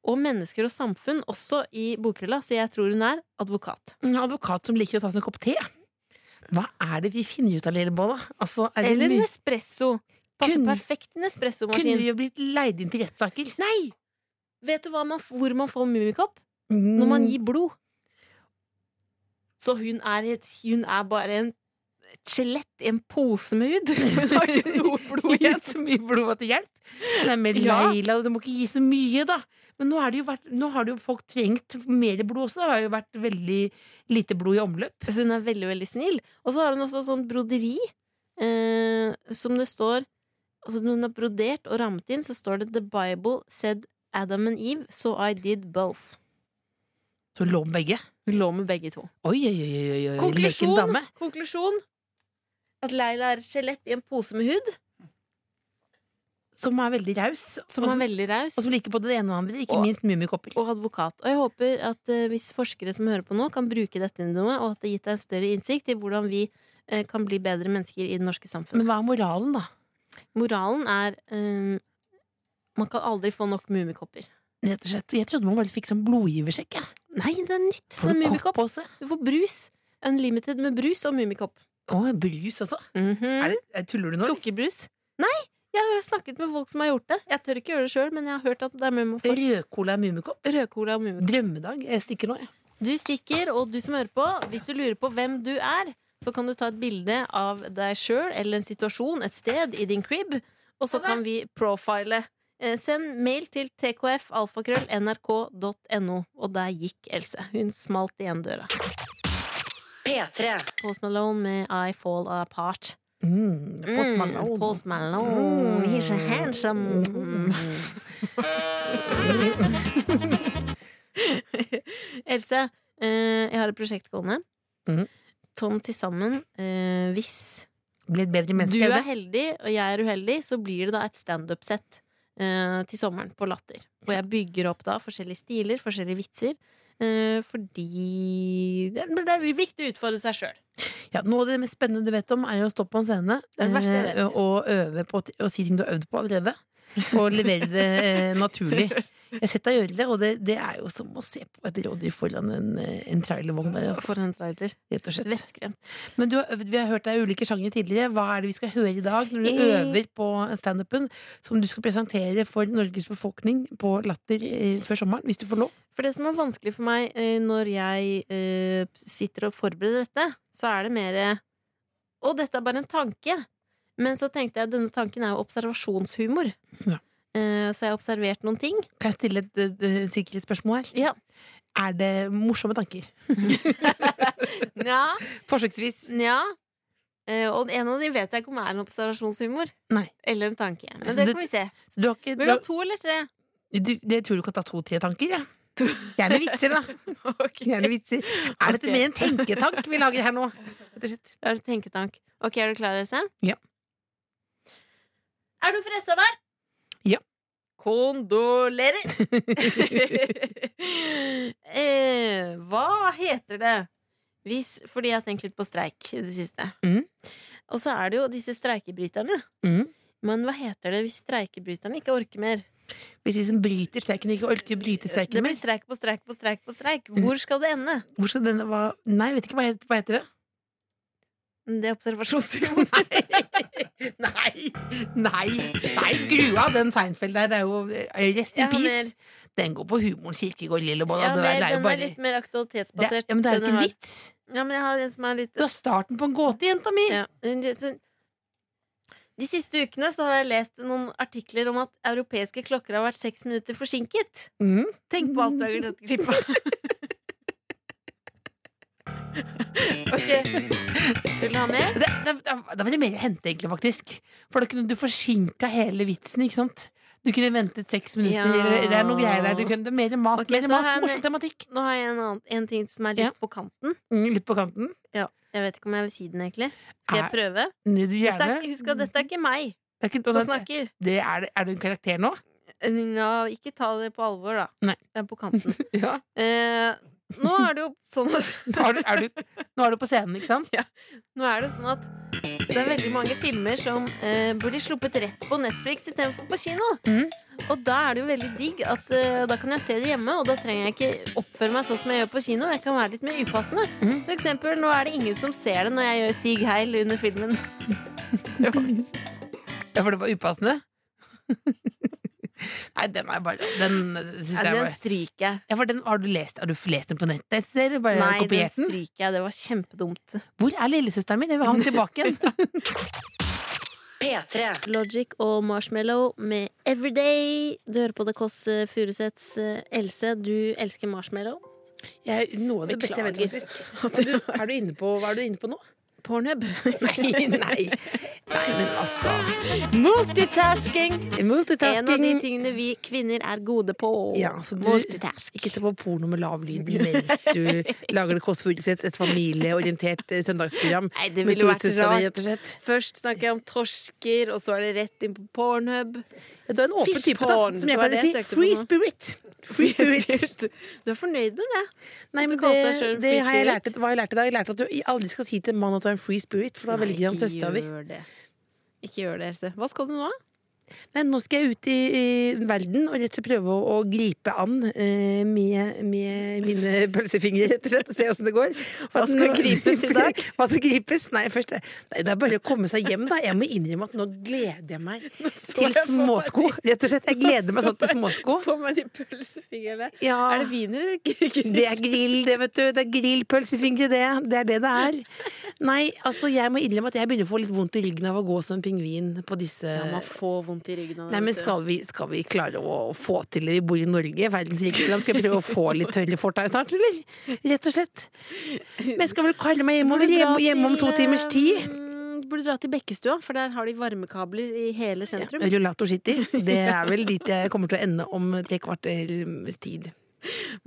S2: og mennesker og samfunn også i bokhylla, så jeg tror hun er advokat.
S3: En advokat som liker å ta seg en kopp te. Hva er det vi finner ut av, Lillebolla? Altså, er det
S2: Eller
S3: mye-
S2: Nespresso. Passer
S3: Kunne-
S2: perfekt i
S3: Kunne
S2: Nespresso-maskin.
S3: vi jo blitt leid inn til rettssaker?
S2: Nei! Vet du hva man, hvor man får mummikopp?
S3: Mm.
S2: når man gir blod. Så hun er, et, hun er bare en, et skjelett i en pose med hud. Hun har ikke noe blod
S3: Gi
S2: igjen.
S3: så mye blod at det hjelper. Nei, men
S2: Ja.
S3: Leila, du må ikke gi så mye, da. Men nå, er det jo vært, nå har det jo folk trengt mer blod også. Det har jo vært veldig lite blod i omløp.
S2: Så hun er veldig, veldig snill. Og så har hun også sånn broderi eh, som det står Altså når hun har brodert og rammet inn, så står det 'The Bible said Adam and Eve, so I did both'.
S3: Så lå med begge.
S2: Hun lå med begge to.
S3: Oi, oi, oi, oi, oi.
S2: Konklusjon.
S3: leken dame.
S2: Konklusjon at Leila er et skjelett i en pose med hud,
S3: Som er veldig raus.
S2: som
S3: og
S2: er
S3: som-
S2: veldig raus.
S3: Og som liker både det ene og det andre. Ikke
S2: Og-
S3: minst mummikopper.
S2: og advokat. Og jeg håper at eh, hvis forskere som hører på nå, kan bruke dette inn i noe, og at det har gitt deg en større innsikt i hvordan vi eh, kan bli bedre mennesker i det norske
S3: Men
S2: samfunnet.
S3: hva er moralen, da?
S2: Moralen er eh, man kan aldri få nok mummikopper.
S3: Rett og slett. Jeg trodde man bare fikk sånn blodgiversjekk. jeg.
S2: Nei, det er nytt! Det
S3: Får
S2: er
S3: du
S2: mummikopp.
S3: kopp også?
S2: Du får brus. Unlimited med brus og mummikopp.
S3: Å, brus også?
S2: Mhm.
S3: Er det, er- Eh, tuller du nå?
S2: Sukkerbrus. Nei! Jeg har snakket med folk som har gjort det. Jeg tør ikke gjøre det sjøl, men jeg har hørt at det er med man får
S3: Rødcola og mummikopp?
S2: rødcola og mummikopp.
S3: Drømmedag. Jeg stikker nå, jeg.
S2: Du stikker, og du som hører på, hvis du lurer på hvem du er, så kan du ta et bilde av deg sjøl eller en situasjon, et sted, i din crib, og så kan vi profile. Eh, Send mail til tkfalfakrøll.nrk.no. Og der gikk Else. Hun smalt igjen døra.
S7: P3.
S2: Post Malone med I Fall Apart.
S3: Mm, Post
S2: Mm,
S3: Malone. Mm,
S2: Post Malone. He's so handsome. Else, eh, jeg har et prosjekt gående.
S3: Mhm.
S2: Tom til sammen, eh, hvis
S3: Bli et bedre menneske.
S2: du
S3: eller?
S2: er heldig og jeg er uheldig, så blir det da et standup-sett eh, til sommeren på Latter. Og jeg bygger opp da forskjellige stiler, forskjellige vitser, eh, fordi det er, det er viktig å utfordre seg sjøl.
S3: Ja, noe av det mest spennende du vet om, er jo å stå på en scene
S2: Det er det verste jeg vet.
S3: eh, og øve på t- og si ting du har øvd på allerede. Og levere det eh, naturlig. Jeg har sett deg gjøre det, og det, det er jo som å se på et rådyr foran en, eh, en trailervogn. Der, altså,
S2: For en trailer.
S3: rett og slett.
S2: Vettskremt.
S3: Men du har øvd, vi har hørt deg i ulike sjangere tidligere. Hva er det vi skal høre i dag når du
S2: Eh.
S3: øver på standupen som du skal presentere for Norges befolkning på Latter eh, før sommeren, hvis du får lov?
S2: For det som er vanskelig for meg eh, når jeg eh, sitter og forbereder dette, så er det mer eh, Å, dette er bare en tanke. Men så tenkte jeg at denne tanken er jo observasjonshumor.
S3: Ja.
S2: Eh, så jeg har observert noen ting.
S3: Kan jeg stille et eh, eh, sikkerhetsspørsmål her?
S2: Ja.
S3: er det morsomme tanker.
S2: Nja,
S3: Forsøksvis.
S2: nja. Eh, Og en av de vet jeg ikke om er en observasjonshumor.
S3: Nei.
S2: Eller en tanke. Men
S3: Så
S2: det
S3: du-
S2: kan vi se.
S3: Så du har
S2: Vil
S3: ikke, du
S2: du ha
S3: har,
S2: to eller tre?
S3: du, det tror du kan ta to-tre tanker, ja. Gjerne vitser, da. Gjerne vitser. Er dette
S2: Ok.
S3: mer en tenketank vi lager her nå? Rett og slett.
S2: Det er en tenketank. Ok, er du klar, Else?
S3: Ja.
S2: Er du fra SMR?
S3: Ja.
S2: Kondolerer! eh, hva heter det? Hvis, fordi jeg har tenkt litt på streik i det siste.
S3: Mhm.
S2: Og så er det jo disse streikebryterne.
S3: Mhm.
S2: Men hva heter det hvis streikebryterne ikke orker mer?
S3: Hvis de som bryter streiken, ikke orker å bryte
S2: Det
S3: streiken
S2: blir
S3: mer, Mm.
S2: streik på streik på streik på streik. Hvor skal det ende?
S3: hvor skal denne hva, Nei, vet ikke hva heter, hva heter det?
S2: Det er observasjonshumor.
S3: Nei! Nei! Nei, skru av den Seinfeld der. Det er jo eh, Rest in
S2: Ja, men-
S3: peace. Den går på humoren Kirkegård Lillebolla.
S2: Ja,
S3: det,
S2: men
S3: er- det er jo
S2: den er
S3: bare
S2: litt mer
S3: det,
S2: aktualitetsbasert.
S3: ja, men det er
S2: Denne
S3: jo ikke en
S2: har-
S3: vits.
S2: Ja, men jeg har en som er litt
S3: Du har starten på en gåte, jenta mi!
S2: ja. en- en- De siste ukene så har jeg lest noen artikler om at europeiske klokker har vært seks minutter forsinket.
S3: Mm.
S2: Tenk på alt du har glemt å glippe av. Ok. Vil du ha mer?
S3: Det, det, da var det mer å hente, egentlig, faktisk. For da kunne du forsinka hele vitsen, ikke sant? Du kunne ventet seks minutter.
S2: Ja.
S3: eller Det er noe greier der. Du kunne, det er mer mat,
S2: Ok, så
S3: mer mat,
S2: har jeg en-
S3: morsom tematikk.
S2: Nå har jeg en, annen, en ting som er litt
S3: Ja.
S2: på kanten.
S3: Mm, litt på kanten.
S2: Jeg vet ikke om jeg vil si den, egentlig. Skal
S3: Er-
S2: jeg prøve?
S3: Ned i
S2: Dette er,
S3: hjernen.
S2: ikke- husk at dette er ikke meg
S3: Det er ikke-
S2: som
S3: det-
S2: snakker.
S3: det er, det- er du en karakter nå?
S2: Ja, ikke ta det på alvor, da.
S3: Nei.
S2: Det er på kanten.
S3: Ja.
S2: Eh, nå er det jo sånn at
S3: Nå er du, er du, nå er du på scenen, ikke sant?
S2: Nå er det sånn at det er veldig mange filmer som eh, burde sluppet rett på Netflix istedenfor på kino.
S3: Mhm.
S2: Og da er det jo veldig digg at eh, da kan jeg se det hjemme, og da trenger jeg ikke oppføre meg sånn som jeg gjør på kino. Jeg kan være litt mer upassende.
S3: Mhm.
S2: For eksempel, nå er det ingen som ser det når jeg gjør Sig Heil under filmen. Det var-
S3: Ja, for det var upassende? Nei, den er bare Den syns
S2: Ja,
S3: jeg
S2: den
S3: var
S2: stryker jeg.
S3: ja, for den, har, du lest, har du lest den på nettet? Eller bare
S2: Nei, den
S3: kopiert den?
S2: stryker jeg. Det var kjempedumt.
S3: Hvor er lillesøsteren min? Jeg vil ha den tilbake igjen.
S7: P3.
S2: Logic og Marshmallow med Everyday. Du hører på The Kåss eh, Furuseths Else. Du elsker Marshmallow.
S3: Jeg, noe av det beste jeg vet
S2: Beklager.
S3: faktisk. Du, er du inne på, hva er du inne på nå?
S2: Pornhub.
S3: Nei, nei. Nei, men altså. Multitasking!
S2: En av
S3: Multitasking.
S2: de tingene vi kvinner er gode på.
S3: Ja, så du-
S2: Multitask.
S3: Ikke se på porno med lav lyd mens du lager det Kåss Furuseth, et familieorientert eh, søndagsprogram.
S2: Nei, det
S3: med
S2: ville vært
S3: storesøsteren din, rett
S2: rart.
S3: og slett.
S2: Først snakker jeg om torsker, og så er det rett inn på pornhub.
S3: Du er en åpen type, da,
S2: Fishporn,
S3: som
S2: det
S3: jeg
S2: var
S3: pleier å
S2: det
S3: si.
S2: jeg søkte på
S3: Free
S2: nå.
S3: spirit. Free spirit.
S2: Du er fornøyd med det?
S3: Nei,
S2: Du
S3: men det,
S2: kalte deg selv
S3: det
S2: free
S3: har jeg
S2: spirit.
S3: lært, hva har jeg lært i dag. Jeg lærte at du aldri skal si til en mann at du er en free spirit, for da
S2: Nei,
S3: velger han
S2: ikke
S3: søstera di.
S2: gjør det. Ikke gjør det, Else. Hva skal du nå?
S3: Nei, nå skal jeg ut i, i verden og rett og slett prøve å, å gripe an eh, med, med mine pølsefingre, rett og slett, og se åssen det går. Hva
S2: skal gripes i dag?
S3: Hva skal gripes? Nei, først, nei, det er bare å komme seg hjem, da. Jeg må innrømme at nå gleder jeg meg til
S2: jeg for meg
S3: småsko, rett og slett. Jeg gleder meg sånn til småsko.
S2: Få meg de pølsefingrene.
S3: Ja.
S2: Er det wiener eller ikke?
S3: Det er grill, det, vet du. Det er grillpølsefingre, det. Det er det det er. Nei, altså, jeg må innrømme at jeg begynner å få litt vondt i ryggen av å gå som en pingvin på disse
S2: Ja, man får vondt i ryggen av det.
S3: Nei, men
S2: vet du.
S3: skal vi, skal vi klare å få til det? Vi bor i Norge, verdens rikeste land. Skal jeg prøve å få litt tørre fortau snart, eller? Rett og slett. Men jeg skal vel kalle meg hjemover
S2: Burde dra
S3: hjemme, hjemme om
S2: til,
S3: to timers tid.
S2: mm, Burde dra til Bekkestua, for der har de varmekabler i hele sentrum.
S3: Rullator City. Det er vel dit jeg kommer til å ende om tre kvarters tid.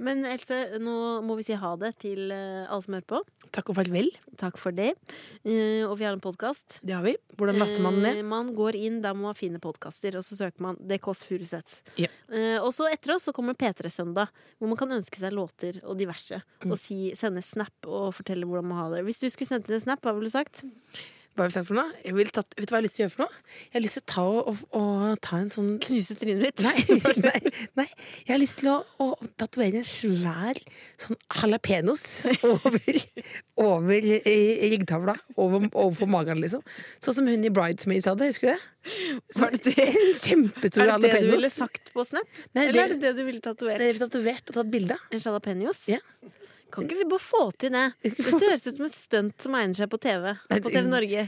S2: Men Else, nå må vi si ha det til eh, alle som hører på.
S3: Takk og farvel.
S2: Takk for det. Eh, Og vi har en podkast.
S3: Det har vi. Hvordan laster man den ned?
S2: Man går inn der man finner podkaster, og så søker man Det Kåss Furuseths.
S3: Ja.
S2: Eh, Og så etter oss så kommer P3 Søndag, hvor man kan ønske seg låter og diverse.
S3: Mm.
S2: Og si, sende snap og fortelle hvordan man har det. Hvis du skulle sendt inn en snap, hva ville du sagt?
S3: Hva har vi sagt for noe? Jeg vil tatt, vet du hva jeg har lyst til å gjøre for noe? Jeg har lyst til å ta, og, og, og ta en sånn
S2: Knuse trynet mitt.
S3: Nei, nei, nei. Jeg har lyst til å, å tatovere en svær sånn jalapeños over, over eh, ryggtavla. Over, overfor magen, liksom. Sånn som hun i Bridesmaids hadde, husker du det?
S2: Var det det?
S3: En kjempestor
S2: Er det det du
S3: jalapeños.
S2: ville sagt på snap?
S3: Nei,
S2: Eller er det det du ville
S3: det
S2: tatovert?
S3: er tatovert og tatt bilde av.
S2: En jalapeños?
S3: Ja.
S2: Kan ikke vi bare få til det? Dette høres ut som et stunt som egner seg på TV. På TV Norge.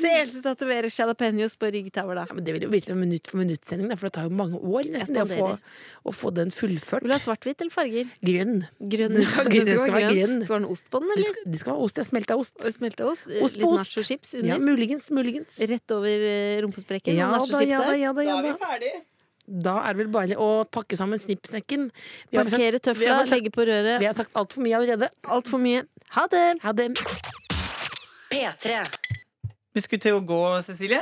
S2: Se Else tatoverer jalapeños på ryggtavla.
S3: Ja, men det vil jo virke som minutt for minutt-sending, da, for det tar jo mange år nesten det å få,
S2: spanderer.
S3: å få den fullført.
S2: Vil du ha svart-hvitt eller farger?
S3: Grønn.
S2: Grønn.
S3: Den skal- den skal være grønn.
S2: Skal du ha en ost på den,
S3: Det
S2: eller?
S3: skal, det skal være ost. Det er smelta ost.
S2: Smelta ost?
S3: Ost på
S2: Litt
S3: ost.
S2: nachochips
S3: Ja,
S2: under?
S3: muligens, muligens.
S2: Rett over eh, rumpesprekken?
S3: Ja
S2: og
S3: da, ja da,
S2: nachochips der?
S3: ja da, ja da. Da er det vel bare å pakke sammen snippsnekken. Vi har sagt,
S2: Markere
S3: vi
S2: tøfla,
S3: har sagt-
S2: legge på
S3: vi
S2: røret.
S3: har sagt altfor mye allerede.
S2: Altfor mye. Ha det!
S3: Ha det.
S7: P3.
S5: Vi skulle til å gå, Cecilie.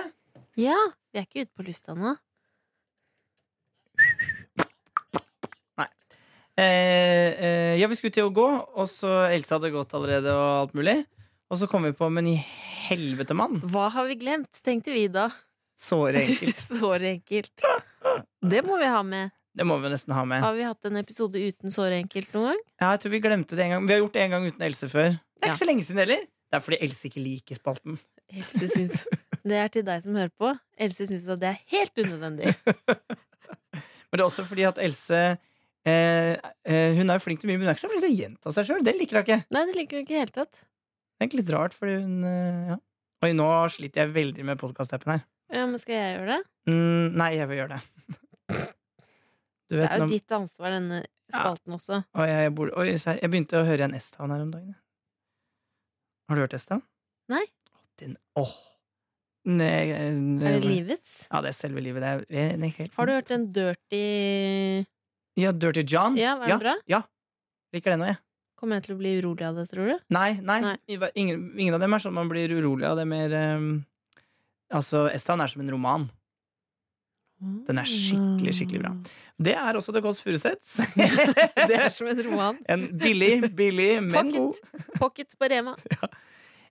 S2: Ja, vi er ikke ute på lufta nå.
S5: Eh, eh, ja, vi skulle til å gå, og så Else hadde gått allerede og alt mulig. Og så kom vi på Men i helvete, mann!
S2: Hva har vi glemt, tenkte vi da.
S5: Såre enkelt.
S2: Såre enkelt. Det må vi ha med.
S5: Det må vi nesten ha med.
S2: Har vi hatt en episode uten såre enkelt noen gang?
S5: Ja, jeg tror Vi glemte det en gang. Vi har gjort det en gang uten Else før. Det er
S2: Ja.
S5: ikke så lenge siden heller. Det er fordi Else ikke liker spalten.
S2: Else syns Det er til deg som hører på. Else syns at det er helt unødvendig.
S5: Men det er også fordi at Else eh, eh, Hun er jo flink til mye, men hun er ikke så flink til å gjenta seg sjøl. Det liker hun ikke.
S2: Nei, det liker hun ikke i det hele tatt.
S5: Det er egentlig litt rart, fordi hun eh, ja. Oi, nå sliter jeg veldig med podkast-appen her.
S2: Ja, men skal jeg gjøre det?
S5: Mm, nei, jeg vil gjøre det. Du
S2: Det
S5: vet
S2: er jo
S5: når-
S2: ditt ansvar, denne spalten også.
S5: Oi, jeg, jeg, bor, oi, serr. jeg begynte å høre igjen S-Town her om dagen. jeg. Har du hørt S-Town?
S2: Nei.
S5: Den, åh. Nei, nei,
S2: Er det livets?
S5: Ja, det er selve livet. Det er, det er helt,
S2: Har du hørt en dirty
S5: Ja, Dirty John.
S2: Ja, var den bra?
S5: Liker den òg, jeg.
S2: Kommer jeg til å bli urolig av det, tror du?
S5: Nei, nei.
S2: Nei.
S5: i- Ingen, ingen av dem er sånn man blir urolig av. Det er mer ehm, Altså, S-Town er som en roman. Den er skikkelig, skikkelig bra. Det er også The Kåss Furuseths.
S2: Det er som en roman.
S5: en billig, billig, men god.
S2: Pocket, pocket på Rema.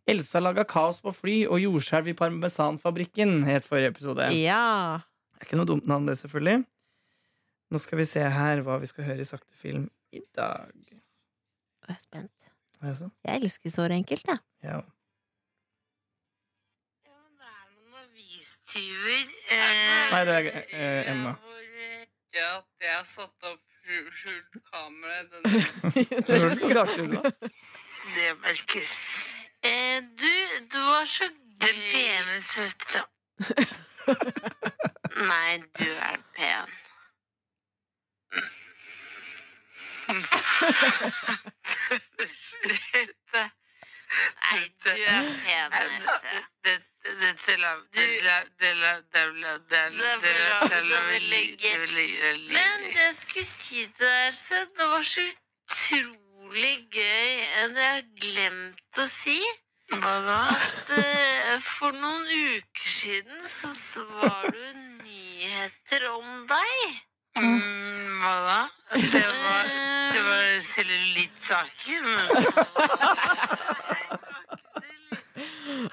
S5: Elsa laga kaos på fly og jordskjelv i parmesanfabrikken, het forrige episode. Det
S2: Ja.
S5: er ikke noe dumt navn, det, selvfølgelig. Nå skal vi se her hva vi skal høre i sakte film i dag.
S2: Jeg er spent.
S5: Hva er det så?
S2: Jeg elsker såre enkelt, jeg.
S5: Ja. Nei, det er eh, Emma.
S10: Ja, at jeg har satt opp skjul- skjult kamera i denne
S5: Det høres rart liksom. ut, da.
S10: Det merkes. Eh, du, du var så gøy. pene søstera. Nei, du er pen. Dette Nei, du er pen, Else. Dette la vi ligge. Men det jeg skulle si til deg, Else, det var så utrolig gøy Det jeg har glemt å si. Hva da? At eh, for noen uker siden så, så var det jo nyheter om deg. Mm, hva da? Det var, det var cellulittsaken.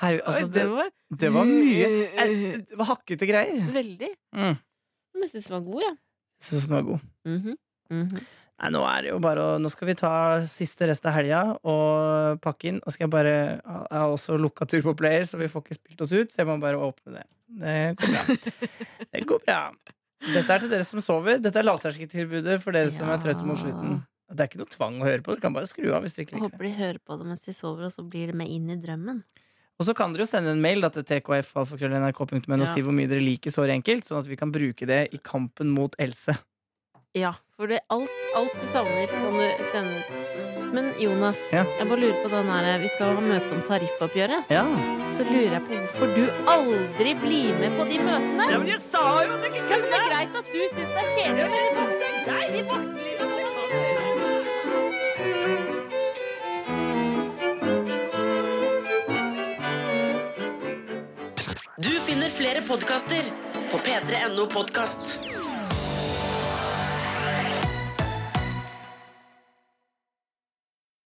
S5: Herregud, altså, det,
S2: var
S5: det var mye eh, Det var hakkete greier.
S2: veldig.
S5: Mm.
S2: Men jeg syns den var god, jeg.
S5: Jeg syns den var god.
S2: Mhm. Mhm.
S5: Nei, nå er det jo bare å Nå skal vi ta siste rest av helga og pakke inn. Og skal jeg bare Jeg har også lukka tur på player, så vi får ikke spilt oss ut. Så jeg må bare åpne det. Det går bra. Det går bra. Dette er til dere som sover. Dette er lavterskeltilbudet for dere som
S2: Ja.
S5: er trøtte mot slutten. Det er ikke noe tvang å høre på. Du kan bare skru av hvis dere
S2: Jeg
S5: ikke liker
S2: Håper
S5: det.
S2: de hører på det mens de sover, og så blir det med inn i drømmen.
S5: Og så kan dere jo sende en mail da, til tkf.nrk.no og
S2: Ja.
S5: si hvor mye dere liker Såre enkelt, sånn at vi kan bruke det i kampen mot Else.
S2: Ja, for det alt, alt du savner, kan du sende Men Jonas,
S5: Ja.
S2: jeg bare lurer på den her Vi skal ha møte om tariffoppgjøret.
S5: Ja.
S2: Så lurer jeg på hvorfor du aldri blir med på de møtene.
S5: men jeg sa jo at jeg ikke
S2: Men det er greit at du syns det er kjedelig, men de voksne, de voksne
S7: Du finner flere podkaster på p3.no podkast.